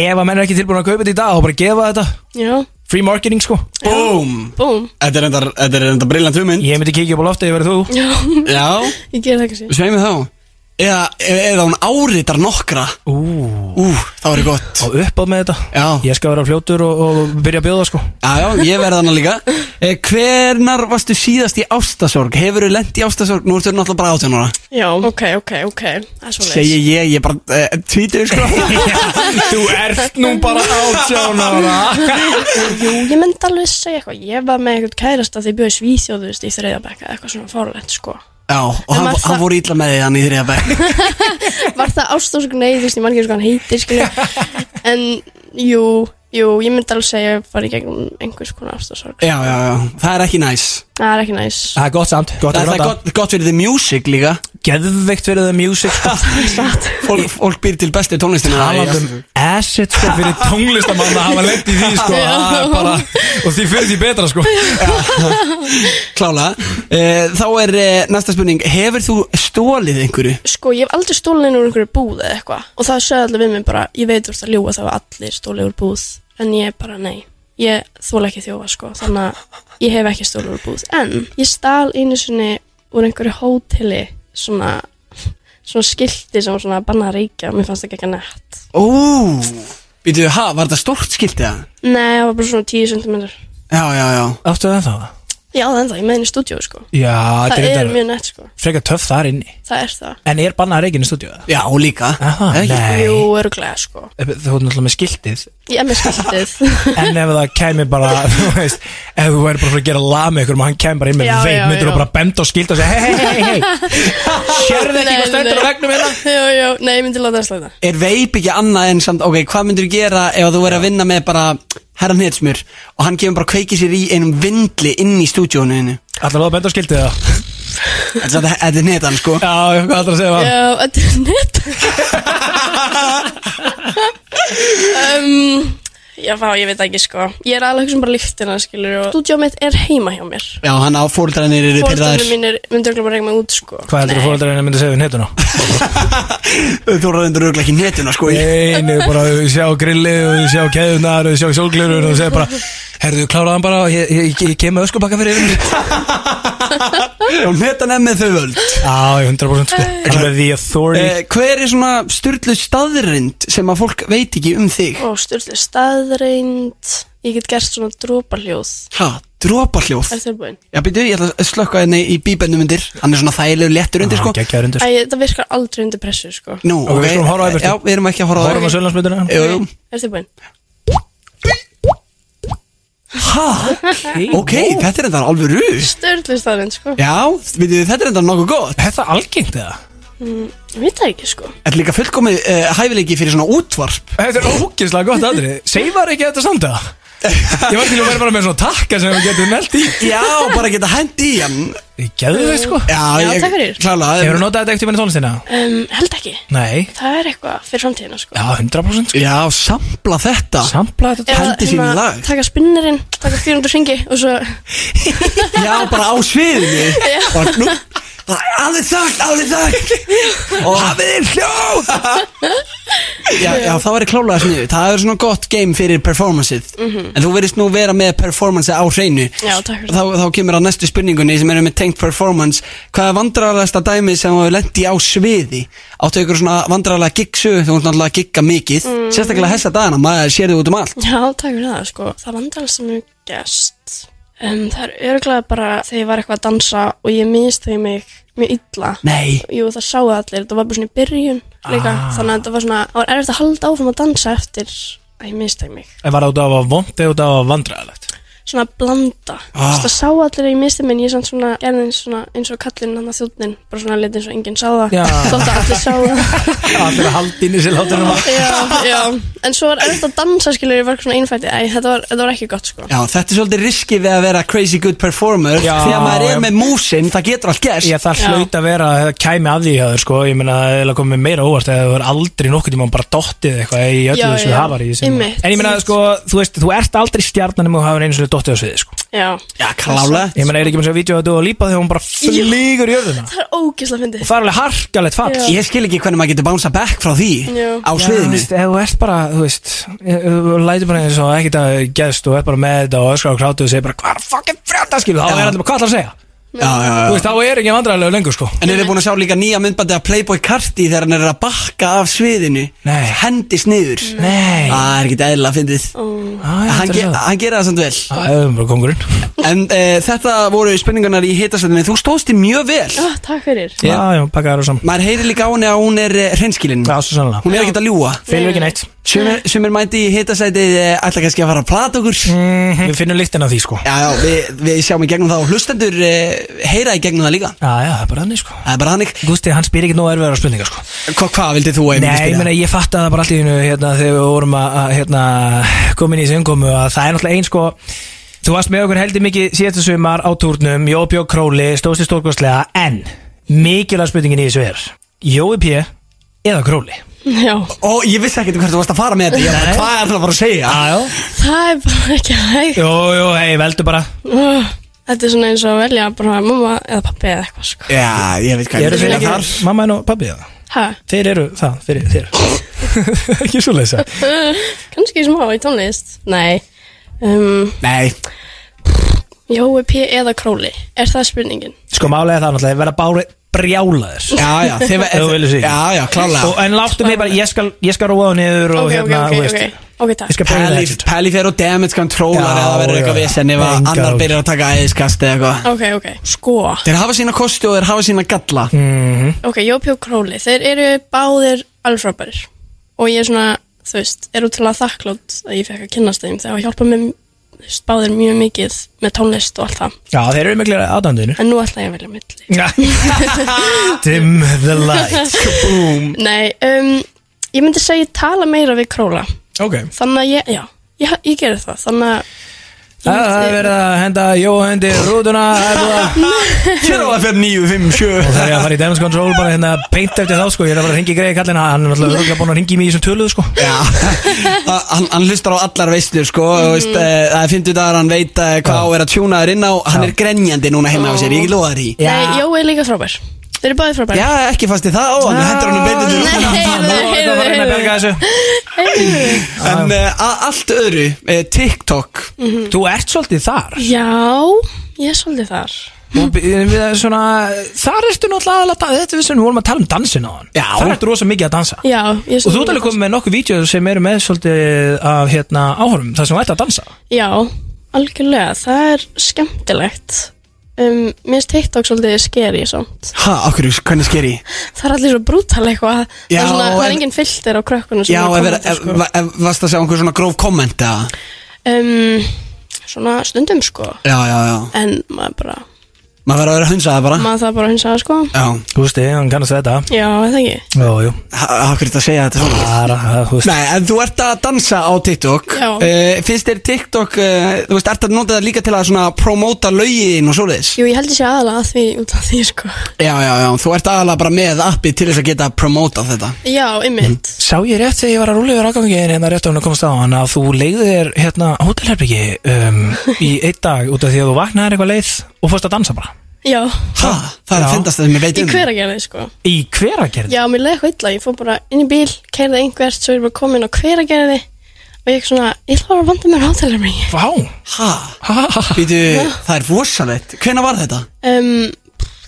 S4: ef að menn er ekki tilbúin að kaupa þetta í dag þá bara gefa þetta,
S3: Já,
S4: free marketing, sko
S2: Búm
S3: búm.
S2: Þetta er enda, þetta er enda brillant hugmynd
S4: Ég myndi kíkja upp á loftið, ég verið þú
S3: Já,
S2: Já
S3: ég ger það kannski.
S2: Sveimi þá Eða, eða hún áritar nokkra
S4: Ú,
S2: Ú, það var gott
S4: og upp með þetta
S2: Já.
S4: Ég skal vera fljótur og, og byrja að bjóða, sko
S2: Já, já, ég verði þannig líka eh, Hvernar varstu síðast í ástasorg? Hefur þú lent í ástasorg? Nú ertu náttúrulega bara átján ára
S3: Já, ok, ok, ok. Það er svo
S2: Segji ég, ég bara eh, tvítur sko
S4: Þú ert nú bara átján ára
S3: Jú, ég myndi alveg segja eitthvað. Ég var með eitthvað kærasta þegar ég bjóði Svíþjóð, þú veist, í þreyðabekka, eitthvað svona fórlætt, sko.
S2: Já, og
S3: En
S2: hann,
S3: var
S2: hann
S3: það-
S2: voru ítla með því hann í þriða bæk
S3: Var það ástofsk nei, þú veist, ég man ekki eins og hvað hann heitir, skilur. En, jú, jú, ég myndi alveg segja að ég var í gegnum einhvers konar ástofsorg.
S2: Já, já, já, það er ekki næs
S3: Það er ekki næs.
S4: Það er gott samt, gott
S2: Það er
S4: að
S2: það
S4: ráta
S2: gott, gott fyrir því music líka
S4: Geðveikt fyrir það music, sko
S2: Fólk, fólk býr til bestu tónlistina
S4: talað um asset sko fyrir tónlistamann að hafa lett í því sko
S3: Já.
S4: það er bara, og því fyrir því betra sko
S2: Klála Þá er eh, næsta spurning Hefur þú stólið einhverju?
S3: sko, ég hef aldrei stólið inn úr einhverju búð eða eitthvað og það sögði allir við mig bara, ég veit úr það ljúa það var allir stólið úr búð en ég bara nei, ég þóla ekki þjófa sko, þannig að ég hef ekki stólið úr búð en ég stál einu sinni úr einhverju hóteli svona, svona skilti sem var svona að banna að reykja og mér fannst það ekki ekki nett
S2: Ó, býtu, ha, var þetta stórt skiltið það?
S3: nei, það var bara svona 10 cm
S2: Já, já, já
S4: Áttu það þá?
S3: Já, það er ennþá, ég með henni í stúdíu sko
S4: Já,
S3: Það
S4: þetta
S3: er
S4: er
S3: mjög nett sko,
S4: frekar töff þar inni
S3: það er það
S4: En er bannað að reygin í stúdíu?
S2: Já, líka
S4: Aha,
S2: Eða ekki?
S4: nei. Eh,
S3: Jú, öruglega sko
S4: Þú ert náttúrulega með skiltið
S3: Ég er með skiltið
S4: En ef það kæmi bara, þú veist Ef þú væri bara fyrir að gera lag með ykkur Og hann kæmi bara inn með
S3: Já,
S4: veik
S3: já,
S4: Myndur þú
S3: já.
S4: bara benda og skilta og segja Hei, hei, hei, hei Sérðu ekki hvað
S3: Nei,
S4: stendur á
S3: nei.
S4: vegnum hérna?
S3: Jú, jú, nei, ég myndi láta það slæta
S2: Er veip ekki annað en samt Ok, hvað myndir þú gera ef þú er að vinna með bara Herra Netsmur Og hann kemur bara að kveiki sér í einum vindli inn í stúdíónu hennu
S4: Allar að benda og skiltið það?
S2: Þetta er- þetta er netan sko
S4: Já, hvað allar að segja um það?
S3: Já, þetta er nett um, Já, fá, ég veit ekki sko Ég er alveg sem bara líktina, skilur og Stúdíó mitt er heima hjá mér
S2: Já, hann á fórhaldrarnir eru
S3: Fórstæðinu
S2: pyrraðir
S3: mínir myndi okkur bara reyna mig út sko
S4: Hvað heldur þú
S3: Nei.
S4: fóröldarinn myndi segja við netuna?
S2: Þú ræðindur auðvitað ekki netuna sko ég-
S4: Nei, nei, bara þau sjá grillið og þau sjá keðunar og þau sjá sólglirur og þau segja bara Herðu, kláraðan bara, ég, ég, ég kem með öskubakka fyrir yfir mig
S2: Og netan er með þau völd
S4: Já, 100% sko Þetta er the authority
S2: Eh, Hver er svona styrlu staðrind sem að fólk veit ekki um þig?
S3: Ó, styrlu staðreind Ég get gert svona dróparljóð
S2: Ha, dropahljóð
S3: Er tilbúin?
S2: Já, byrju, ég ætla að slökka henni í bíbennum undir Hann er svona þægilegu léttur undir sko
S4: Gekkjaður undir
S3: Æ, það virkar aldrei undir pressu sko
S2: Nú,
S4: Ah, Ok, við skulum horfa á Everton.
S2: Já, við erum ekki að horfa á
S4: Horfum á
S2: Everton.
S4: Sjölandsmyndina
S2: Jú, jú.
S3: Er tilbúin?
S2: Ha, ok, þetta er enda alveg rúst
S3: Störlu staðreind sko
S2: Já, við þið, þetta er enda nokkuð gott
S4: Er það algengt eða?
S3: Ég veit það ekki sko
S2: Þetta er líka fullkomið uh, hæfileiki fyrir svona útvarp
S4: Þetta er ógeðslega gott aðri Seifar ekki þetta samt eða? Ég var til að vera bara með svona takka sem við getum nelt í
S2: Já, bara geta hendi í hann
S4: Ég geðu þau sko
S2: Já,
S3: Já, takk fyrir.
S4: Hefur
S2: klála
S4: notað þetta ekkert í minni tónlistina?
S3: um, Held ekki
S4: Nei
S3: Það er eitthvað fyrir framtíðina sko
S4: Já, 100% sko
S2: Já, sampla þetta
S4: Sampla þetta
S3: Eða,
S2: hendi sínu
S3: hérna,
S2: lag.
S3: Taka spinnerinn, taka 400 ringi og svo
S2: Já, bara á sviðinu Og nú bara, Alveg þögt, alveg þögt Og hafið þér hljóð já, já, það væri klálega sniðu Það er svona gott game fyrir performanceið En þú verðist nú vera með performanceið á hreinu
S3: Mhm. Já, takk fyrir
S2: þá, þá kemur að næstu spurningunni sem eru með tengt performance Hvað er vandrarlegasta dæmi sem þú lendi á sviði? Áttu ykkur svona vandrarlega giggsu Þú ert náttúrulega að gigga mikið
S3: Mm.
S2: Sérstaklega hessa dagana, maður sér þau út um allt
S3: Já, takk fyrir það sko Það vandar alls sem ég gæst um, Það er örglega bara þegar ég var eitthvað að dansa og ég misti mig mjög illa
S2: Nei,
S3: Jú, það sáu allir, það var bara svona í byrjun líka
S4: Ah.
S3: Þannig að þetta var svona, það var erfitt að halda áfram að dansa eftir að ég misti mig
S4: En var það út af að vond eða út af að vandræðalegt?
S3: Svona að blanda Þú
S2: Ah.
S3: veist, Það sá allir að ég misti mig en ég samt svona gerði eins svona eins og kallinn hann að þjóttnin Bara svona liti eins og enginn sá það
S4: Já.
S3: Þótt að allir sá það
S4: Allir að halda inn í sér látur um að
S3: já, já, en svo var erfitt að dansa skilur ég var svona einfætti, æ, þetta var, þetta var ekki gott sko
S2: Já, þetta er svolítið riskið við að vera crazy good performer
S4: Já,
S2: Þegar maður er
S4: já.
S2: með músin, það getur allt gerst
S4: Ég það
S3: Já.
S4: hlaut að vera að það kæmi að því hjá þér sko Ég meina það er eiginlega komið meira óvart eða þú er aldrei nokkuð tíma bara dottið eitthvað í öllu
S3: Já,
S4: þessu
S3: já.
S4: hafari í sem-
S3: Einmitt.
S4: En ég meina sko, þú veist, þú ert aldrei stjarnan um að hafa einu svona dottið á sviði sko
S3: Já,
S2: Já, klálega
S4: Ég meina er ekki með svo að vídeo að þú að lípa þegar hún bara flýgur í jörðuna
S3: það er ógislega fyndið
S4: Og það er alveg harkalegt fall
S3: Já.
S2: Ég skil ekki hvernig maður getur bánsa back frá því
S3: Já.
S2: Á
S4: þú
S2: sviðinu
S4: veist, ef þú ert bara, þú veist ef Þú lætur bara eins og ekkert að geðst Þú ert bara með þetta og öskar og krátu og segir bara Hvað er fucking frétta skilu, þá
S2: Já.
S4: er allir bara hvað ætlarðu að segja
S2: já, já,
S4: Þú
S2: já.
S4: veist, þá er ekki vandræðilegu lengur sko
S2: En eru búin að sjá líka nýja myndbandi af Playboy Carti Þegar hann er að bakka af sviðinu
S4: Nei.
S2: Hendist niður
S4: Nei,
S2: Það er ekki eðlilega fyndið
S4: Æ,
S2: Hann, ge hann gera það samt vel
S4: Það er bara kongurinn
S2: En e, þetta voru spurningarnar í hitastöndinni Þú stóðst í mjög vel
S3: ah, Takk fyrir
S4: Já, Mm. já, pakkaður og saman
S2: Maður heyri líka á henni að hún er reynskilin
S4: Já, svo sannlega
S2: Hún er ekkert að ljúa
S4: Fylgur ekki neitt
S2: Sumir, sumir mæti í hitasætið eh, ætla kannski að fara að plata okkur
S4: Við finnum lyktin af því sko
S2: Já, já, við, við sjáum í gegnum það og hlustendur eh, heyra í gegnum það líka
S4: Já, já, það er bara þannig sko
S2: Það er bara hannig
S4: Gústi, hann spyr ekki nóg erfiðar á spurningar sko
S2: Hva, Hvað vildið þú að
S4: Nei, ég meina, ég fatt að það bara allt í hennu hérna, þegar við vorum að, að hérna, komin í þessu umkomu að það er náttúrulega einn sko Þú varst með okkur heldur mikið síðasta sumar á túrnum Jói P. og Króli, stóðst í stórkostlega en mikilvæg spurningin í þessu er Jói P. eða Króli
S3: Já,
S2: Ó, ég vissi ekkert um hvert þú varst að fara með þetta Ég var bara,
S4: Nei. Ah.
S2: hvað er það bara að segja?
S4: Jájó
S3: það er bara ekki hægt
S4: Jú, jú, hei, veldu bara
S3: Ah, Þetta er svona eins og að velja bara mamma eða pappi eða eitthvað sko
S2: Já, ég veit hvað
S4: Eru
S2: ég
S4: þeir
S2: er
S4: ekki
S2: þar
S4: mamma en og pabbi það?
S3: Ha,
S4: Þeir eru það, fyrir þér Ekki svo leysa
S3: kannski smá í tónlist Nei um,
S2: Nei,
S3: Jói P eða Króli, er það spurningin?
S4: Sko málega það náttúrulega verða bári brjálaður
S2: Já, já, þið
S4: Ef þú viljum sig ekki.
S2: Já, já,
S4: og,
S2: klálega
S4: En láttu mig bara, ég skal, ég skal róa á niður og
S3: Ok, ok,
S4: hérna,
S3: ok, ok,
S4: þú veist
S3: ok, takk
S4: Ég skal bregða
S2: Pæli,
S4: þetta
S2: pæli fer og damage controller
S4: Já,
S2: eða það verður eitthvað
S4: já.
S2: vesen ef að
S4: Engar
S2: annar
S4: áhyggjur.
S2: byrjar að taka æðiskast eða eitthvað
S3: Ok, ok, sko
S2: Þeir hafa sína kosti og þeir hafa sína galla
S4: Mm.
S3: Ok, Jópi og Króli, þeir eru báðir alveg frábærir og ég er svona, þú veist, er útrúlega þakklátt að ég fekk að kynnast þeim þegar að hjálpa mér þú veist, báðir mjög mikið með tónlist og allt það
S4: Já, þeir eru miklir aðdæmdunir
S3: en nú ætla ég að velja milli
S4: Dim the light
S2: Boom
S3: Nei, um, ég myndi segja ég tala meira við Króla
S4: Ok
S3: þannig að ég, já, ég, ég gerði það þannig að
S4: Það er verið að henda Jó hendi rútuna Það er búið að-
S2: Hér á að fer 9, 5, 7
S4: Og það er að fara í Damage Control bara hérna beint eftir þá sko Ég er að fara að ringi greið kallina Hann er alltaf örgulega búin að ringi mig í þessum töluðu sko
S2: Já, Að- hann, hann hlustar á allar veistur sko og veist, eh, það er 50 dagar hann veit eh, hvað á er að tjúna þér inn á hann er grenjandi núna heima á sér, ég loða þér í
S4: Já.
S3: Nei, Jói er líka frábær Þeir eru báðir frábær
S2: Já, ekki fast í það, ó, hann hendur hann í beitinu
S3: Nei,
S4: Nú
S3: heyrðu,
S4: er þetta að fara að reyna að
S3: heyrðu,
S4: berga þessu
S3: heyrðu
S2: En uh, allt öðru, uh, TikTok
S3: Mhm.
S4: Þú ert svolítið þar
S3: Já, ég er svolítið þar
S4: Og bi- við erum svona, Þar ertu náttúrulega aðalega að- Þetta er við sem við vorum að tala um dansin á hann
S2: Já.
S4: Þar ertu rosa mikið að dansa
S3: Já, ég er
S4: Og þú ert alveg komið með nokkuð vídeo sem eru með svolítið af hérna áhörum þar sem þú ert að dansa
S3: Já, algjörlega, það er skemmtilegt um, Mér finnst TikTok svolítið skeri samt
S2: Ha, okkur, hvernig sker ég?
S3: Það er allir svo brútal eitthvað
S2: Já,
S3: Það er, svona, það
S2: en-
S3: er engin filter á krökkunum sem
S2: Já,
S3: eru sko. að
S2: ef, er,
S3: kommenta,
S2: ef, ef, ef varst að segja einhver svona gróf komment eða?
S3: um, Svona stundum sko
S2: Já, já, já,
S3: En maður bara,
S2: maður verður að vera hunsa það bara
S3: maður það bara hins aða sko
S2: Já,
S4: Þú veist, ég, hann kannast við þetta
S3: Já, er það ekki
S4: Jó, jú,
S2: Ha- af hverju þetta segja þetta svona?
S4: bara, það, þú veist
S2: Nei, en þú ert að dansa á TikTok
S3: Já.
S2: Eh, Finnst þér TikTok, uh, þú veist, ert að nota það líka til að svona promóta lögin og svoleiðis?
S3: Jú, ég held ég sé aðalega að því út af því sko
S2: Já, já, já, þú ert aðalega bara með appi til þess að geta promóta þetta
S3: Já, einmitt
S4: Sá ég rétt þegar ég var að rúla yfir aðgangin hérna rétt á hún að komast á hann að þú leiði þér hérna hótelherbyggi um, í einn dag út af því að þú vaknaðir eitthvað leið og fórst að dansa bara
S3: Já,
S2: Ha, það er að
S4: Já.
S2: finnast það sem ég veit
S3: í
S2: um
S3: hver að gera þið sko
S4: Í hveragerði?
S3: Já, mér leiði eitthvað illa, ég fór bara inn í bíl, keirði einhvert, svo er ég bara komin á hveragerði og ég svona, ég ætla bara að vanda mér hátalarmingi.
S4: Vá,
S2: Ha,
S4: ha, ha, ha.
S2: býtu, það er rosalegt Hvenær var þetta?
S3: Um,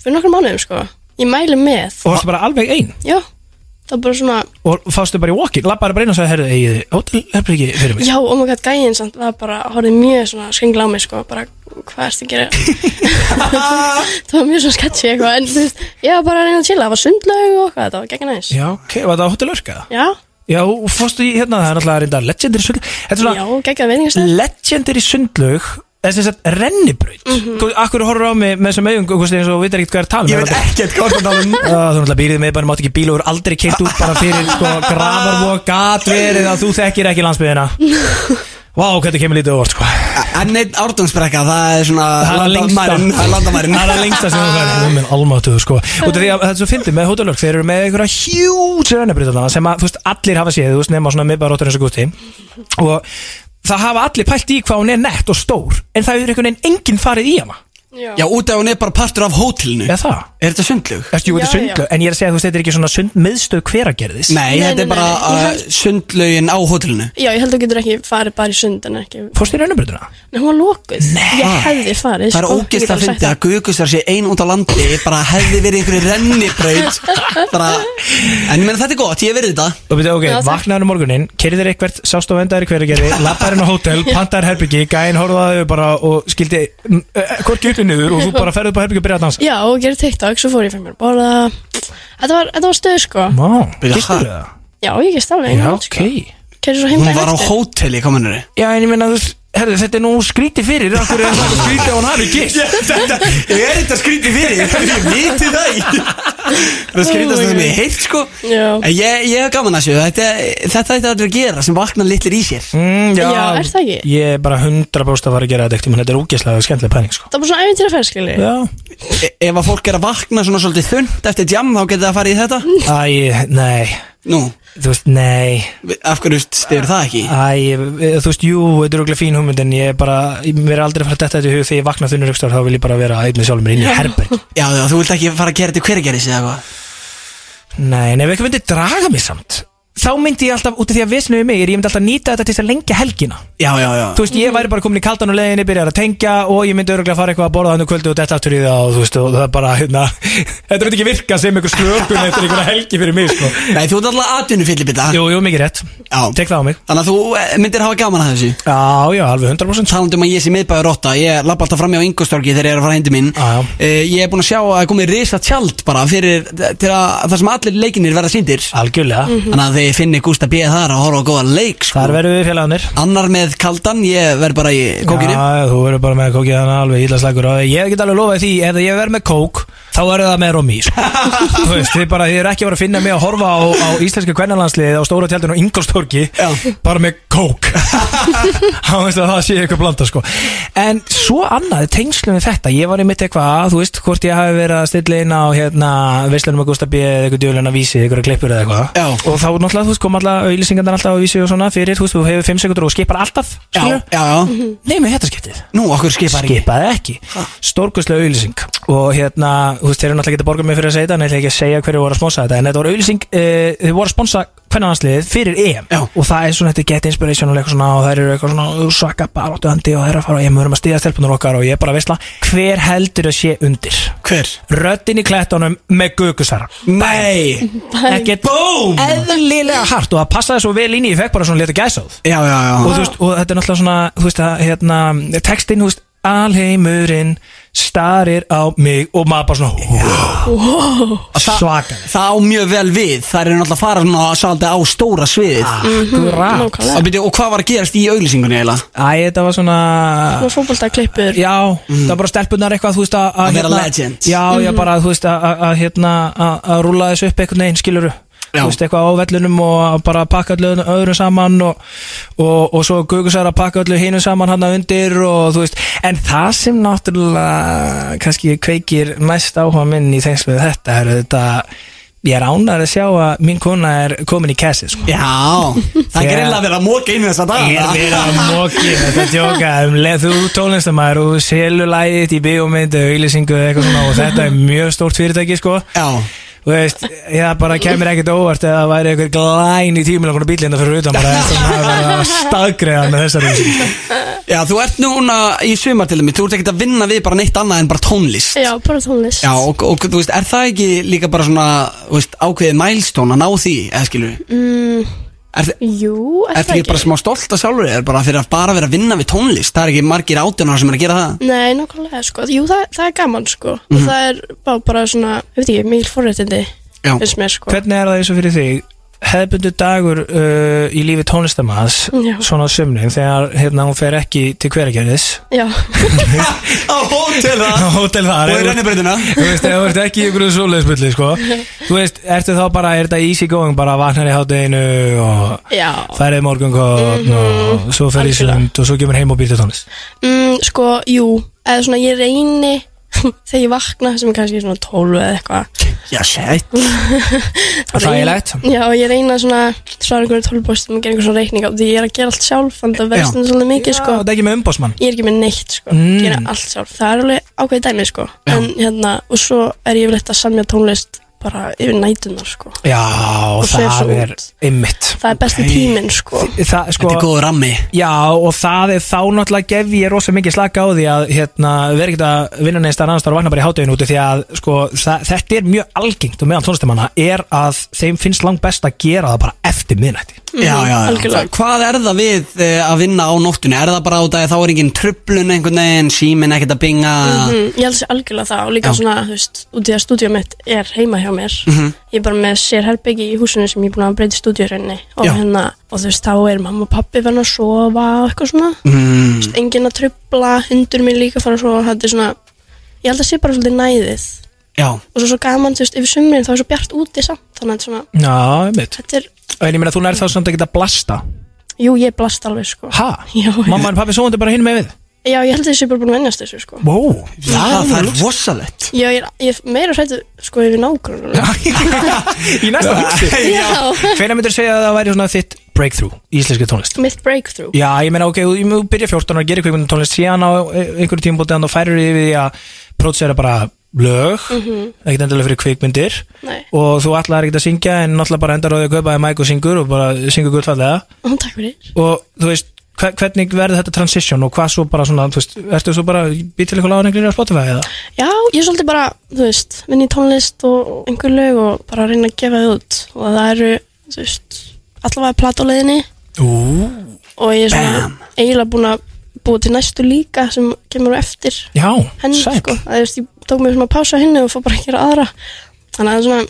S3: fyrir nokkrum mánuðum, sko. Ég mæli með.
S4: og varstu bara alveg einn
S3: Já, það var bara svona,
S4: og fástu bara í walk-in, lappaði bara inn og sagði herðu, eigið þið hótelherbyggi fyrir mig
S3: já, oh my god, gæinn samt, það bara horfið mjög svona skengla á mig, sko, bara, hvað ertu að gera? það var mjög svona sketchy eitthvað, en þú veist, ég var bara að reyna að chilla, það var sundlaug og eitthvað, það var gegn aðeins.
S4: Já, ok, var það hótelörka?
S3: Já,
S4: Já, og fórstu í hérna, það er náttúrulega reynda legendary sundlaug Þetta er
S3: já,
S4: svona
S3: gegn að veitingastæð.
S4: legendary sundlaug eða sem sagt rennibraut mm -hmm. Akkur horfur á mig með þessum augum þú veist, eins og vitar ekkert hvað er að tala um
S2: Ég veit
S4: aldrei-
S2: ekkert hvað það um
S4: Já, þú náttúrulega býrið með bara mátt ekki bíl og eru aldrei keitt út bara fyrir sko grafarvó gat verið að þú þekkir ekki landsbyðina Vá, hvernig kemur lítið óvart sko
S2: En einn árdómsbrekka, það er svona
S4: Það er lengsta
S2: landamærin, Það er landamærin Ah.
S4: Það er lengsta sem þú færði Þú minn almáttuðu sko Út af því að þetta er svo fyndið með hótelörk Þeir eru með einhverja hjúts rennabrytana sem að þú veist allir hafa séð Þú veist nema svona miðbæra rótur eins og gúti Og það hafa allir pælt í hvað hún er nett og stór En það er einhvern veginn enginn farið í hana
S2: Já, út af hún er bara partur af hótelinu
S4: Eða það?
S2: Er þetta sundlug?
S4: Ertu, jú,
S3: Já,
S4: þetta er
S3: já.
S4: sundlaug, en ég er að segja, þú veist, þetta er ekki svona sund miðstöð hveragerðis
S2: Nei,
S3: Nei,
S2: þetta er
S3: nei,
S2: bara
S3: nei, ég
S2: uh,
S3: held-
S2: sundlaugin á hótelinu
S3: Já, ég held að þú getur ekki farið bara í sund en ekki
S4: Fórstu í rennabrytuna?
S3: Nei, hún var lókuð. Nei. Ég hefði farið.
S2: Það er
S3: sko, ég get
S2: ógist að
S3: alveg sagt
S2: fyndi að Guðgustar sé ein út á landi bara hefði verið einhverju rennibraut bara, en ég meina þetta er gott, ég hef verið þetta
S4: Og byrja, ok,
S3: Já, það-
S4: vaknaður um morgunin, kerðir eitthvert, sást á vendaður í hveragerði, lappaður inn á hótel, pantaður herbyggi, gæinn horfaðu bara og skildi mm, eh, hvorki upp í niður og þú bara ferðu upp á herbyggi og byrja að dansa.
S3: Já, og gerði TikTok, svo fór ég fyrir mér bara Þetta var, þetta var stöð, sko
S4: Má,
S2: Byrja,
S4: gistur
S2: ha?
S4: það?
S3: Já, ég gist alveg
S4: Já,
S3: einu nótt,
S4: ok.
S3: sko. Kæri svo heim
S2: Hún
S3: daginn
S2: var á
S3: eftir.
S2: hóteli, kominur
S4: Já, en ég meina, þú veist, herðu, þetta er nú skrítið fyrir, af hverju er það skrítið að hún hafi gist?
S2: Ég er þetta skrítið fyrir, ég viti það ekki. Það skrítast það sem ég heilt sko
S3: Já.
S2: En ég, ég hef gaman að sjö Þetta þetta ætti allir að gera sem vakna litlir í sér
S4: Mm, já,
S3: Já, er það ekki?
S4: Ég er bara 100% að fara að gera þetta ekkert, menn þetta er úgeslega skemmtileg pæning, sko.
S3: Það var svona ævintýra ferð, skilji
S4: Já.
S2: E Ef að fólk er að vakna svona svolítið þund eftir jam þá getur það að fara í þetta
S4: Æ, nei,
S2: Nú,
S4: þú veist, nei,
S2: af hverju styrir það ekki?
S4: Æ, eh, þú veist, jú, þetta er okkur fín hugmynd en ég er bara, mér er aldrei að fara að detta þetta í hug þegar ég vakna þunni rökstar, þá vil ég bara vera einn með sjálfur mér inn í herberg.
S2: Já, já, þú vilt ekki fara að gera þetta hvergeris eða eitthvað
S4: Nei, en ef eitthvað myndi draga mig samt þá myndi ég alltaf, út af því að vissinu við mig er ég myndi alltaf nýta þetta til þess að lengja helgina
S2: Já, já, já
S4: þú veist, ég væri bara komin í kaldan og leiðinni, byrjar að tengja og ég myndi öruglega fara eitthvað að borða hann og kvöldu og detta aftur í það og þú veist, og það er bara, hérna þetta myndi ekki virka sem einhver slökun eftir einhverja helgi fyrir mig, sko
S2: Nei, þú ert alltaf atvinnu fyllibita
S4: Jú, jú, mikið rétt,
S2: Já.
S4: tek það á mig
S2: Þannig að þú eh, myndir hafa gaman að þessu
S4: Já, já, alveg 100% sko.
S2: talandi um að ég sé miðbæður ótta ég lappa alltaf fram hjá Ingolstorgi þegar ég er að fara hindi minn
S4: Já, já.
S2: Eh, ég er búin að sjá að það er komið risa tjald bara fyrir til að það sem allir leikinir verða síndir
S4: Ah. Algjörlega,
S2: þannig að þið finni Gústa B. þar að horfa á góða leik sko.
S4: þar verðum við félagarnir
S2: annar með kaldan, ég verð bara í kókinu
S4: Já, þú verður bara með kókið hann alveg illa slagur og ég get alveg lofað því, ef ég verð með kók þá verður það með Romi sko. Þú veist, þið bara, þið eru ekki að vera að finna mig að horfa á, á íslenska kvennalandsliðið á stóra tjaldinu og Ingolstorki,
S2: Já.
S4: bara með kók þá veist að það sé eitthvað blanda sko. en svo annað tengslum við þetta, ég var í mitt eitthvað þú veist, hvort ég hafi verið að stilla inn á hérna, veislunum að Gústa B eða eitthvað djúlun að vísi, eitthvað klippur eða
S2: Já.
S4: eitthvað og þá náttúrulega, þú veist, kom alltaf auðlýsingandar alltaf á vísi og svona fyrir, þú veist, þú hefur 5 sekundur og skipar alltaf
S2: já,
S4: skilurðu?
S2: já, já,
S4: Nei, með þetta skiptið
S2: nú okkur skipar ekki
S4: Skipaði ekki Stórkustlega auðlýsing Og hérna, þú veist, þeir eru náttúrulega getið borgað mig fyrir að segja þetta En ég ætla ekki að segja hverju voru að sponsa þetta En þetta voru auðlýsing, uh, þeir voru að sponsa hvernig fyrir EM
S2: Já.
S4: Og það er svona, þetta er get inspiration og eitthvað svona Og þær eru eitthvað svona, þú svaka baráttuandi Og þeir eru að fara, ég mörum að stíða stelpunur okkar Og ég er bara að veistla, hver heldur að sé undir?
S2: hver?
S4: Röddin í klettunum með gugusara
S2: nei,
S4: Ekki
S2: búm
S4: eðlilega hart Og það passaði svo vel inn í, ég fekk bara svona leta gæsað
S2: já, já, já,
S4: og, þú veist, og þetta er náttúrulega svona þú veist, að, hérna, textin, þú veist alheimurinn starir á mig og maður bara svona
S2: það-
S4: svakar
S2: það á mjög vel við það er náttúrulega að fara svona svolítið á stóra sviðið
S4: Ah. akkurat
S3: Nákvæmlega.
S2: og, byrju, og hvað var að gerast í auglýsingunni eiginlega?
S4: Æ, þetta var svona
S3: Það var fókbaltaklippur
S4: já, það var bara stelpunar eitthvað þú veist að
S2: Mhm. Að
S4: að
S2: vera legend.
S4: já, já, bara þú veist að- að að, hérna að að rúla þessu upp einhvern veginn skiluru
S2: Já.
S4: þú veist eitthvað á vellunum og að bara pakka öllu öðru saman og, og, og svo Gugusar að pakka öllu hinu saman hann undir og þú veist en það sem náttúrulega kannski kveikir mest áhuga minn í tengslu við þetta er þetta ég er ánar að sjá að mín kona er komin í kæsi sko
S2: Já, það er
S4: Já.
S2: greinlega að vera að móka inn þess að
S4: Ég er verið að móki Þetta er djóka um leið þú tónlistamæður og þú selur lægið þitt í bíómynd eða auglýsingu eða eitthvað svona og þetta er mjög stórt fyrirtæki sko
S2: Já,
S4: Þú veist, það bara kemur ekkert óvart eða það væri einhver glæn í tímilanguna bíl hérna fyrir utan bara þess að maður verið að staðgreða með þessari auglýsingu.
S2: já, þú ert núna í sumar til þeim Þú ert ekkert að vinna við bara neitt annað en bara tónlist
S3: Já, bara tónlist
S2: Já, og, og þú veist, er það ekki líka bara svona þú veist, ákveðið mælstón að ná því, eða skilur við
S3: mm,
S2: Er þið
S3: Jú,
S2: er þið ekki bara smá stolt að sjálfur þér bara fyrir að bara vera að vinna við tónlist Það er ekki margir átjónar sem er að gera það
S3: Nei, nákvæmlega, sko. Jú, það, það er gaman, sko. Og
S2: Mhm.
S3: það er bara, bara svona, ég veit ekki, mikil forréttindi,
S2: Já,
S3: finnst mér, sko.
S4: Hvernig er það eins og fyrir þig? hefðbundu dagur uh, í lífi tónlistamanns
S3: Já.
S4: svona á sömnum þegar hérna hún fer ekki til hveragerðis
S3: Já,
S2: á hótel það
S4: hótel
S2: Og
S4: þar
S2: í
S4: ef-
S2: rennibreytina
S4: þú veist, ef þú ert ekki í einhverju svoleiðsbulli, sko þú veist, ertu þá bara, er þetta easy going bara vaknar í hátteginu og
S3: já.
S4: færið morgunkotn og svo fer
S3: Mhm.
S4: í
S3: Algjörlega.
S4: sund og svo kemur heim og býr til tónlist
S3: Mm, sko, jú, eða svona, ég reyni þegar ég vakna, sem er kannski svona 12 eða eitthvað.
S2: Já, sætt
S4: Það er þægilegt.
S3: Já, ég reyna svona, svara einhverju tólbóstum og gera einhver svona reikning á því ég er að gera allt sjálf, þannig að
S2: Já.
S3: verðst þetta svolítið mikið,
S4: Já,
S3: sko.
S4: þetta er ekki með umbásmann
S3: Ég er ekki með neitt, sko.
S4: Mm.
S3: Gera allt sjálf. Það er alveg ákveðið dæmi, sko. En hérna, og svo er ég yfirleitt að samja tónlist bara yfir nætunar, sko.
S4: Já,
S3: fer svo
S4: það er
S3: út.
S4: ymmit
S3: Það er besti
S2: Ok.
S3: tíminn, sko.
S4: Það, sko,
S2: Þetta er góð rammi
S4: Já, og það er þá náttúrulega gef ég rosa mikið slaka á því að hérna, vera ekkert að vinna neins þar annars þar og vakna bara í hátæginu úti því að sko, það, þetta er mjög algengt og meðan tónlistamanna er að þeim finnst langt best að gera það bara eftir miðnætti
S2: Já, já, já.
S3: algjörlega.
S2: Hvað er það við eh, að vinna á nóttunni? Er það bara á dag að þá er engin trublun einhvern veginn, síminn ekkert að binga
S3: Mm, ég held sér algjörlega það og líka
S2: Já. Mhm.
S3: svona, þú veist, út í að stúdíu mitt er heima hjá mér. Ég er bara með sér herbyggi í húsinu sem ég er búin að breyta stúdíurinn og
S2: Já.
S3: hérna, og þú veist, þá er mamma og pappi fann að sofa og eitthvað svona.
S2: mm.
S3: Engin að trubla, hundur minn líka fann að sofa, þetta er svona, ég held að sé bara svolítið næðið.
S2: Já,
S3: Og svo svo gaman, þú veist, yfir sumrin þá er svo bjart úti samt, þannig að þetta er svona,
S4: Já, mitt
S3: þetta er,
S4: En ég meina þú nær þá samt ekki að blasta
S3: jú, ég blast alveg, sko.
S4: Ha?
S3: Já,
S4: Mamma en pappi sóðandi bara hinn með við
S3: já, ég held að ég sé bara búin að vennast þessu, sko.
S4: Wow
S2: já það er rosalegt
S3: Já, ég er, ég er meira hrættu, sko, yfir nágrunum.
S4: Í næsta hugsi
S3: já.
S4: Hvenær myndir segja að það væri svona þitt breakthrough í íslenski tónlist?
S3: mitt breakthrough
S4: Já, ég meina, ok, þú- um þú byrja 14 ára að gera kvikmyndum tónlist síðan á e- einhverju tímabóti þannig að færir yfir því að prótsera bara lög ekkert endilega fyrir kvikmyndir
S3: Nei.
S4: og þú allar ekkert að syngja en náttúrulega bara endar á því að kaupa þér mæk og syngur og bara syngur gullfallega
S3: Ó, takk fyrir.
S4: og þú veist hve- hvernig verður þetta transition og hvað svo bara svona, þú veist, ertu svo bara být til eitthvað lágninglir á Spotify eða?
S3: Já, ég er svolítið bara, þú veist, vinn í tónlist og einhver lög og bara reyna að gefa þið út og það eru, þú veist, allavega platuleginni
S4: Ú,
S3: og ég er svona eiginlega búin að búa til næstu líka sem kemur á eftir
S4: já,
S3: henni,
S4: sæl
S3: sko. Það er, þú veist, ég tók mér svona pása henni og fór bara að gera aðra. Þannig að það er svona,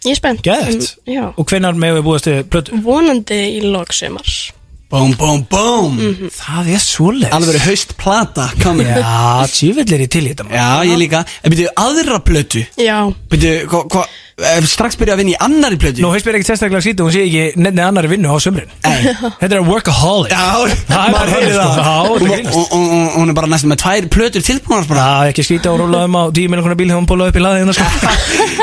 S3: ég er spennt.
S4: Geðvegt.
S3: En, Já,
S4: og hvenar megum við búast til plötu?
S3: Mm. vonandi í loksumars.
S2: Bóm, bóm, bóm
S4: Það er svoleiðis
S2: Alveg verið haustplata komin
S4: Mhm. Já, tjúvill er ég til í þetta maður.
S2: Já, ég líka En byrju, aðra plötu
S3: Já,
S2: Byrju, hva, hva, ef strax byrja að vinna í annari plötu
S4: Nú, haust mér ekkert sérstaklega sýtu, hún sé ekki nefnir annari vinnu á sömrin
S2: Nei.
S4: Þetta er workaholic
S2: Já,
S4: er bara
S2: maður heyrir það
S4: þannig, sko. Já, þetta
S2: Hún-
S4: grínast.
S2: hún- hún- hún- Hún er bara næstum með tvær plötur tilbúinar bara
S4: Það er ekki skýta og rúla um á 10 miljonar bíl hefum bólað upp í laðið hérna sko.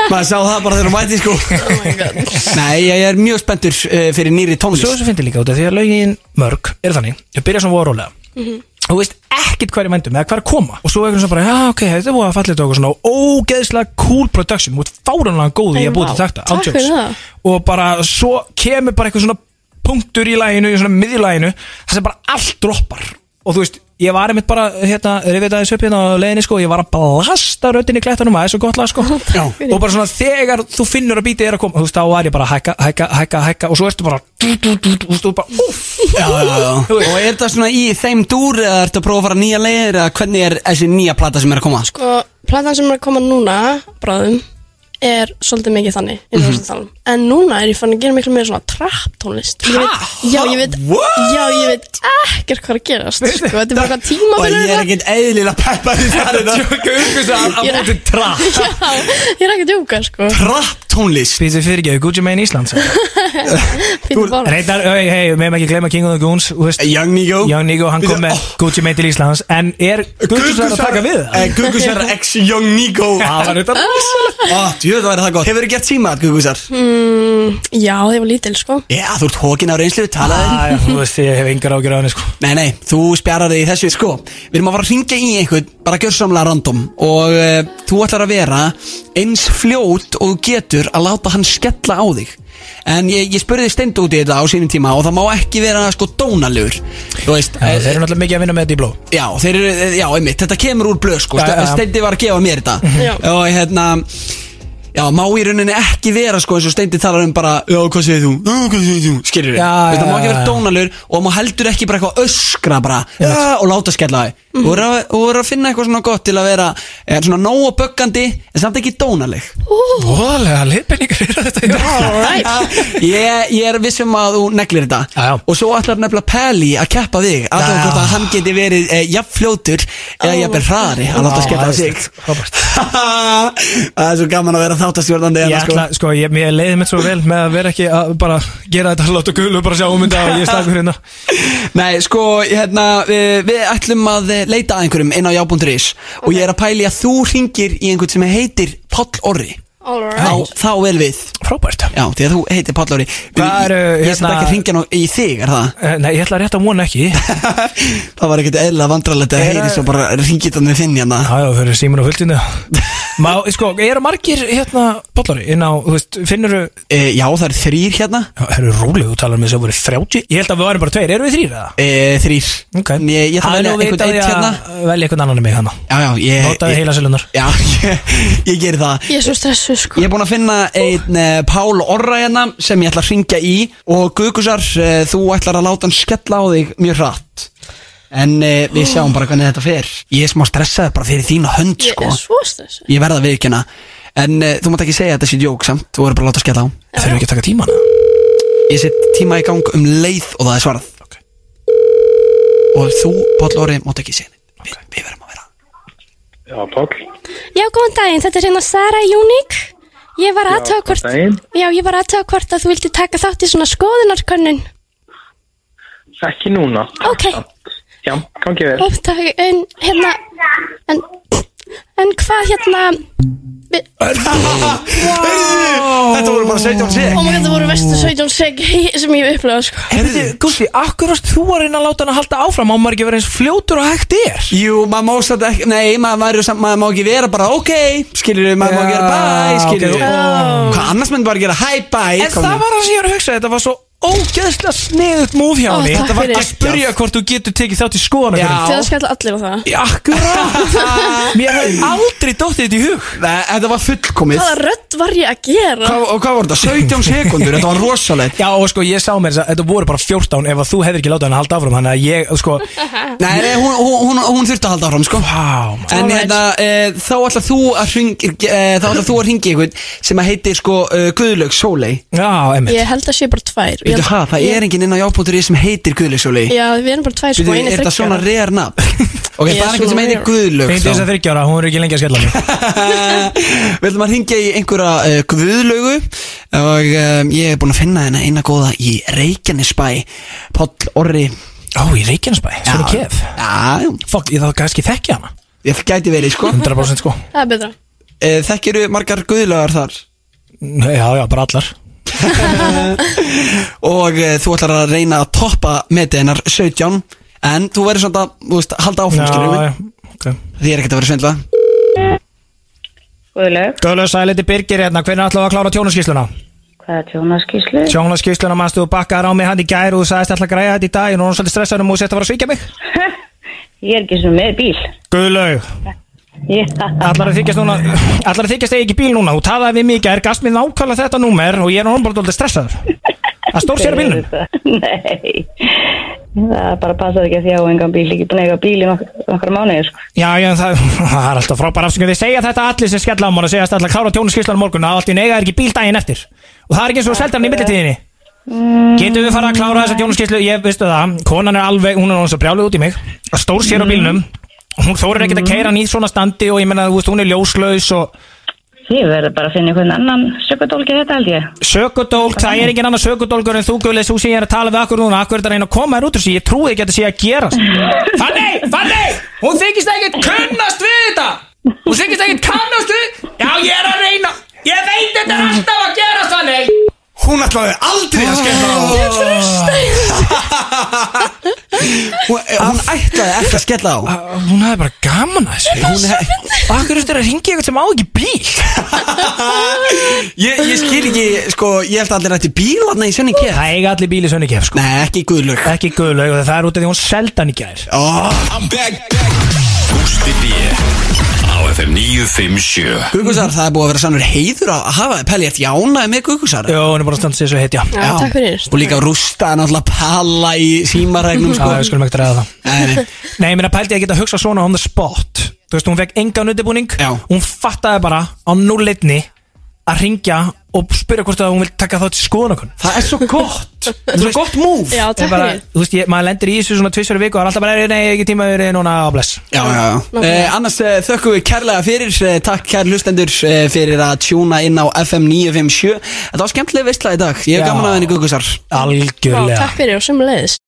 S2: Maður sá það bara þegar hún mæti sko
S3: oh my god.
S2: Nei, ég er mjög spenntur uh, fyrir nýri
S4: Svo
S2: tónlist
S4: þessu fyndi líka út af því að lögin mörg er þannig, ég byrja svona vorulega
S3: Mhm.
S4: Þú veist ekkert hverju vendum eða hverju koma og svo eitthvað svona bara, já ok, þetta er búið að falla þetta og svona ógeðslega cool production þú ert fáranlega góð í
S3: Nei,
S4: að búið til
S3: vá.
S4: þetta
S3: Takk fyrir það.
S4: og bara svo kemur bara eitthvað svona punktur í læginu, í svona miðjulæginu það sem bara allt droppar og þú veist, ég var einmitt bara hérna, rifið aðeins upp hérna á leiðinni sko, ég var að blasta röddinni í klettanum aðeins og gott lag sko
S2: Já.
S4: og bara svona þegar þú finnur að bítið er að koma þú veist þá var ég bara að hækka, hækka, hækka, hækka og svo ertu bara dú, dú, dú, dú, og þú bara úff
S2: Já, já, já. Og er það svona í þeim dúr eða ertu að prófa að fara nýja leiðir eða hvernig er þessi nýja plata sem er að koma sko?
S3: Sko, platan sem er að koma núna, bráðum, er svolítið mikið þannig,
S2: Mhm.
S3: eins og þessum talum. En núna er ég fann að gera miklu meira svona trap tónlist. Hæ? Já, ég veit,
S2: What?
S3: já, ég veit ekkert hvað er að gerast, sko. Þetta er bara eitthvað hérna.
S2: Og
S3: tímabilið
S2: ég er
S3: eitthvað.
S2: ekkert eðlilega peppar í það
S4: tjóka umkvist að
S3: Ég-
S4: móti trap
S3: Já, ég er ekki að djúka, sko.
S2: Trapp tónlist
S4: Pítið fyrir ekki, Gucci Mane Íslands
S3: Pítur bara.
S4: Reyndar, hei, hei, við meðum ekki gleyma King of the Goons þú veist,
S2: Young Nigo
S4: Young Nigo, hann kom með
S2: Oh.
S4: Gucci Mane til Íslands en er Gucci Sara að taka við
S2: Eh,
S4: það?
S2: Gugusar ex Young Nigo
S4: Það var þetta
S2: Jú, það væri það gott Hefur þið gert símat, Gugusar?
S3: Mm, Já, ég var lítil, sko.
S2: Já, þú ert hókin á reynslu, talaði
S4: Æ, Þú veist, ég hef engar ágjur á henni sko
S2: Nei, nei, þú spjarar þig í þessu Sko, við erum að fara að ringja í einhvern Bara gjörsamlega random Og uh, þú ætlar að vera eins fljót og þú getur Að láta hann skella á þig En ég, ég spurði stend út í þetta á sínum tíma Og það má ekki vera sko dónalegur Þú veist,
S4: Já,
S2: eh,
S4: Þeir eru náttúrulega mikið að vinna með þetta í bló
S2: Já, þeir eru, eh, já, einmitt, þetta kemur úr blöð sko,
S4: Já, já, Mhm. já.
S2: Steindi var að gefa mér þetta
S3: Já.
S2: og hérna Já, má í rauninni ekki vera sko eins og Steindi talar um bara Já, hvað segir þú? Já, hvað segir þú? Skilur við
S4: Já, já,
S2: Það má ekki
S4: já,
S2: vera
S4: já.
S2: dónalur og má heldur ekki bara eitthvað öskra bara já, og láta skella þau mm -hmm. og vera að finna eitthvað svona gott til að vera er, svona nógu böggandi en samt ekki dónaleg
S4: Vóðlega, liðbenningar eru þetta Já,
S3: Right.
S2: ég, ég er vissum að þú neglir þetta
S4: Já, já.
S2: og svo ætlar nefnilega Peli að keppa þig
S4: Já.
S2: allavega hvort að hann geti verið e, jafnfljótur eða
S3: Ó.
S2: jafnvel hraðari að láta
S4: Já,
S2: skella á sig
S4: æðislegt. Frábært.
S2: það er svo gaman að vera þáttastjórnandi
S4: Ég
S2: hérna, sko.
S4: ætla, sko, ég, ég leiði mitt svo vel með að vera ekki að bara gera þetta hlátt og gulu og bara sjá um þetta og ég er slagur hérna
S2: Nei, sko, hérna, við, við ætlum að eh, leita að einhverjum inn á já.is og ég er að pæli að þú ringir í einhvern sem heitir Páll Orri
S3: All
S2: þá,
S3: right.
S2: þá vel við
S4: Frábært
S2: Já, því að þú heitir Páll Orri
S4: Hvað eru,
S2: Ég, ég sem
S4: hérna-
S2: ekki að ringja nú í þig, er það?
S4: Eh, Nei, ég ætla rétt að vona ekki Já,
S2: það var ekkert eðla vandralegt að
S4: Er-
S2: heyri svo bara ringið þannig þinn hérna
S4: já, þau eru símur og huldinu Má, sko, eru margir hérna bollari inn á, þú veist, finnuru
S2: e, Já, það er þrýr hérna
S4: Það eru rólega, þú talar með þess að voru 30 Ég held að við varum bara tveir, eru við þrýr eða?
S2: e, Þrýr ég, ég þarf að velja
S4: Það er nú
S2: einhvern
S4: vitað
S2: eitt
S4: ég
S2: hérna
S4: að velja einhvern annan en mig hana
S2: Já, já, ég
S4: Notaði
S2: ég-
S4: heila silunar
S2: Já, ég, ég geri það
S3: Ég er svo stressuð, sko.
S2: Ég er búinn að finna einn uh, Pál Orra hérna sem ég ætla að ringja í og Gugusar, uh, þú ætlar að láta hann skella á þig mjög hratt en uh, við sjáum bara hvernig þetta fer Ég er smá stressaður bara fyrir þína hönd
S3: Ég
S2: sko.
S3: er svo stressuð.
S2: Ég verða að viðkjöna en uh, þú mátt ekki segja að þetta sé djók samt þú verður bara að láta skella á
S4: Þurfum við ekki að taka tíman
S2: Ég set tíma í gang um leið og það er svarað
S4: Ok.
S2: Og þú, Páll Óri, mátt ekki segja neitt Vi, Við verðum að vera
S6: Já, Páll.
S7: Já, góðan daginn, þetta er hérna Sara Júnik. Ég var aðtöða hvort,
S6: góðan daginn.
S7: já, ég var aðtöða hvort að þú vildi taka þátt í svona skoðunarkönnun.
S6: Ekki núna.
S7: Ok.
S6: Já, gangi vel.
S7: Ó, takk, En hérna, en, en hvað hérna,
S3: Við-
S2: Þetta voru bara 17 seg
S3: Oh my god, það voru vestu 17 seg sem ég hef upplegað sko
S4: Herðu, Gústi, akkur varst þú að reyna að láta hann að halda áfram Má maður ekki vera eins fljótur og hægt er
S2: Jú, maður má satt ekki, nei, maður, væri samt, maður má ekki vera bara ok, skilur maður má ekki vera
S4: Já,
S2: bye, skilur
S4: ok.
S2: Hvað annars myndi bara gera hi bye
S4: En það var það sem ég var að hugsa, þetta var svo ógeðslega sniðut múf hjá
S3: Ó,
S4: henni
S3: takk
S4: Þetta var
S3: fyrir.
S4: að spyrja hvort þú getur tekið þátt í skoðan
S2: Já.
S3: Þegar skall allir á það
S4: Akkurát Mér hefði aldrei dóttið þetta í hug
S2: Nei, Þetta var fullkomið
S3: Hvaða rödd var ég að gera?
S2: Hvað, og hvað var þetta? 17 sekundur, þetta var rosalegt
S4: Já og sko ég sá mér þess að þetta voru bara 14 ef að þú hefðir ekki látað hann að halda áfram Þannig að ég sko
S2: Nei, nei, hún, hún, hún, hún þurfti að halda áfram, sko
S4: Vá maður.
S2: En
S3: Alright.
S2: hérna, e, þá ætla þú að hringi e, Þá ætla þú að hringi einhvern sem að heitir sko e, Guðlaug Sólei
S4: Já emmi
S3: Ég held að sé bara tvær Ég
S2: Veitu
S3: held-
S2: hæ, það er enginn inn á jábútur sem heitir Guðlaug Sólei
S3: Já, við erum bara tvær
S2: Veitu,
S3: sko, einu
S2: er
S3: þryggja
S2: þetta svona reyðar nafn? Ok, það
S3: Ég er
S2: er einhvern sem
S3: svona
S2: heitir
S3: rare.
S2: Guðlaug
S4: Hengið þess að
S2: þá.
S4: þryggjára, hún er ekki lengi að skella mig
S2: Við ætlum að hringja í einhverja uh, Guðlaugu og um, ég er búin að finna henni eina góða í Reykjanesbæ Páll Orri
S4: Ó, í Reykjanesbæ, svona kef
S2: Já, já,
S4: Fuck, ég þá kannski þekki hana
S2: ég gæti verið sko
S4: 100% sko
S3: Það er betra
S2: Eh, Þekkiru margar Guðlaugar þar
S4: Nei, Já, já, bara allar
S2: og uh, þú ætlar að reyna að toppa metið hennar 17 en þú verður svona að þú veist, halda áfram skilur
S4: Já,
S2: við
S4: já, ok
S2: því er ekkert að vera svindla
S8: Guðlaug,
S4: Guðlaug Sæliti Birgir hérna, hvernig ætlaðu að klára tjónaskýsluna?
S8: hvað er tjónaskíslu?
S4: Tjónaskýsluna mannstu og bakkaðar á mig hann í gær og þú sagðist ætla að græja þetta í dag og nú er hún svolítið stressaðum og sett að fara að svíkja mig
S8: Ég er ekki sem með bíl.
S4: Guðlaug,
S8: Ég,
S4: allar að þykjast núna allar að þykjast eigi ekki bíl núna, þú talaði við mig í gær gast mér nákvæmlega þetta númer og ég er núna bara svolítið stressaður að stór sér bílnum
S8: Nei, það bara passaði ekki að því á engan bíl, ekki búin að eiga bíl í nokk- nokkra mánuði, sko.
S4: Já, já, en það, það er alltaf frábær afsökun Þið segja þetta allir sem skella á mann og segjast alltaf klára tjónaskýslan morgun að allt í neyga er ekki bíl daginn eftir og það er ekki eins og þú seldan í millitíðinni Getum við fara að klára þessa tjónaskýslu? Ég veistu það, konan er alveg, hún er hún svo brjálið út í mig að stór sér á bílnum hún þórir ekkert að keira hann í svona standi og ég menna, þú veist, hún er ljóslaus og
S8: Ég verði bara að finna einhvern annan sökudólki þetta held ég.
S4: sökudólk, það er engin annar sökudólkur en þú gulis, þú sem ég er að tala við akkur núna akkur er þetta að reyna að koma þér út úr þessu, ég trúi ekki að þetta sé að gerast Fanny, Fanny, hún þykist ekkert kunnast við þetta hún þykist ekkert kannast við já, ég er að reyna, ég veit þetta er alltaf að gerast, Fanny
S2: Hún ætlaði aldrei að skella á Ég frustæði Hún ætlaði ekki að skella á
S4: Ah, hún hefði bara gaman að þessu hún hefði, akkur eftir að ringi eitthvað sem á ekki bíl
S2: ég, ég skil ekki, sko, ég held að allir ætti bíl þarna í sönni kef
S4: það eiga allir bíli sönni kef, sko
S2: Nei, ekki guðlög
S4: ekki guðlaug og það er út af því hún seldan í gær
S9: Gústi B Á FM 957
S2: Guðgúsar, það er búið að vera sannur heiður að hafa þið Pelli, ég ætti jánaði með Guðgúsar
S4: Jó, hún er bara að standa sér svo heit, já
S3: Já, takk fyrir
S2: Og líka rústa náttúrulega palla í símaregnum,
S4: Já,
S2: sko
S4: við skulum ekkert ræða það
S2: Nei, nei.
S4: Nei, ég meina pældi ég að geta að hugsa svona on the spot Þú veist, hún fekk engan undirbúning
S2: Já.
S4: Hún fattaði bara á núleitni að ringja og spyrja hvort að hún vil taka þá til skoðanakon
S2: Það er svo gott Það er svo gott múf
S3: Já, takk
S4: bara,
S3: fyrir
S4: Þú veist, ég, maður lendir í þessu svona tvisveru viku og er alltaf bara, "Nei, nei, ég hef ekki tíma yfir núna á bless
S2: Já, já, já. Eh, annars eh, þökkum við kærlega fyrir eh, Takk kær hlustendur eh, fyrir að tjúna inn á FM 957 Þetta var skemmtileg veistla í dag Ég hef
S4: Já.
S2: gaman að henni Guðgúsar
S3: Já,
S4: Algjörlega
S3: Takk fyrir og sömulegis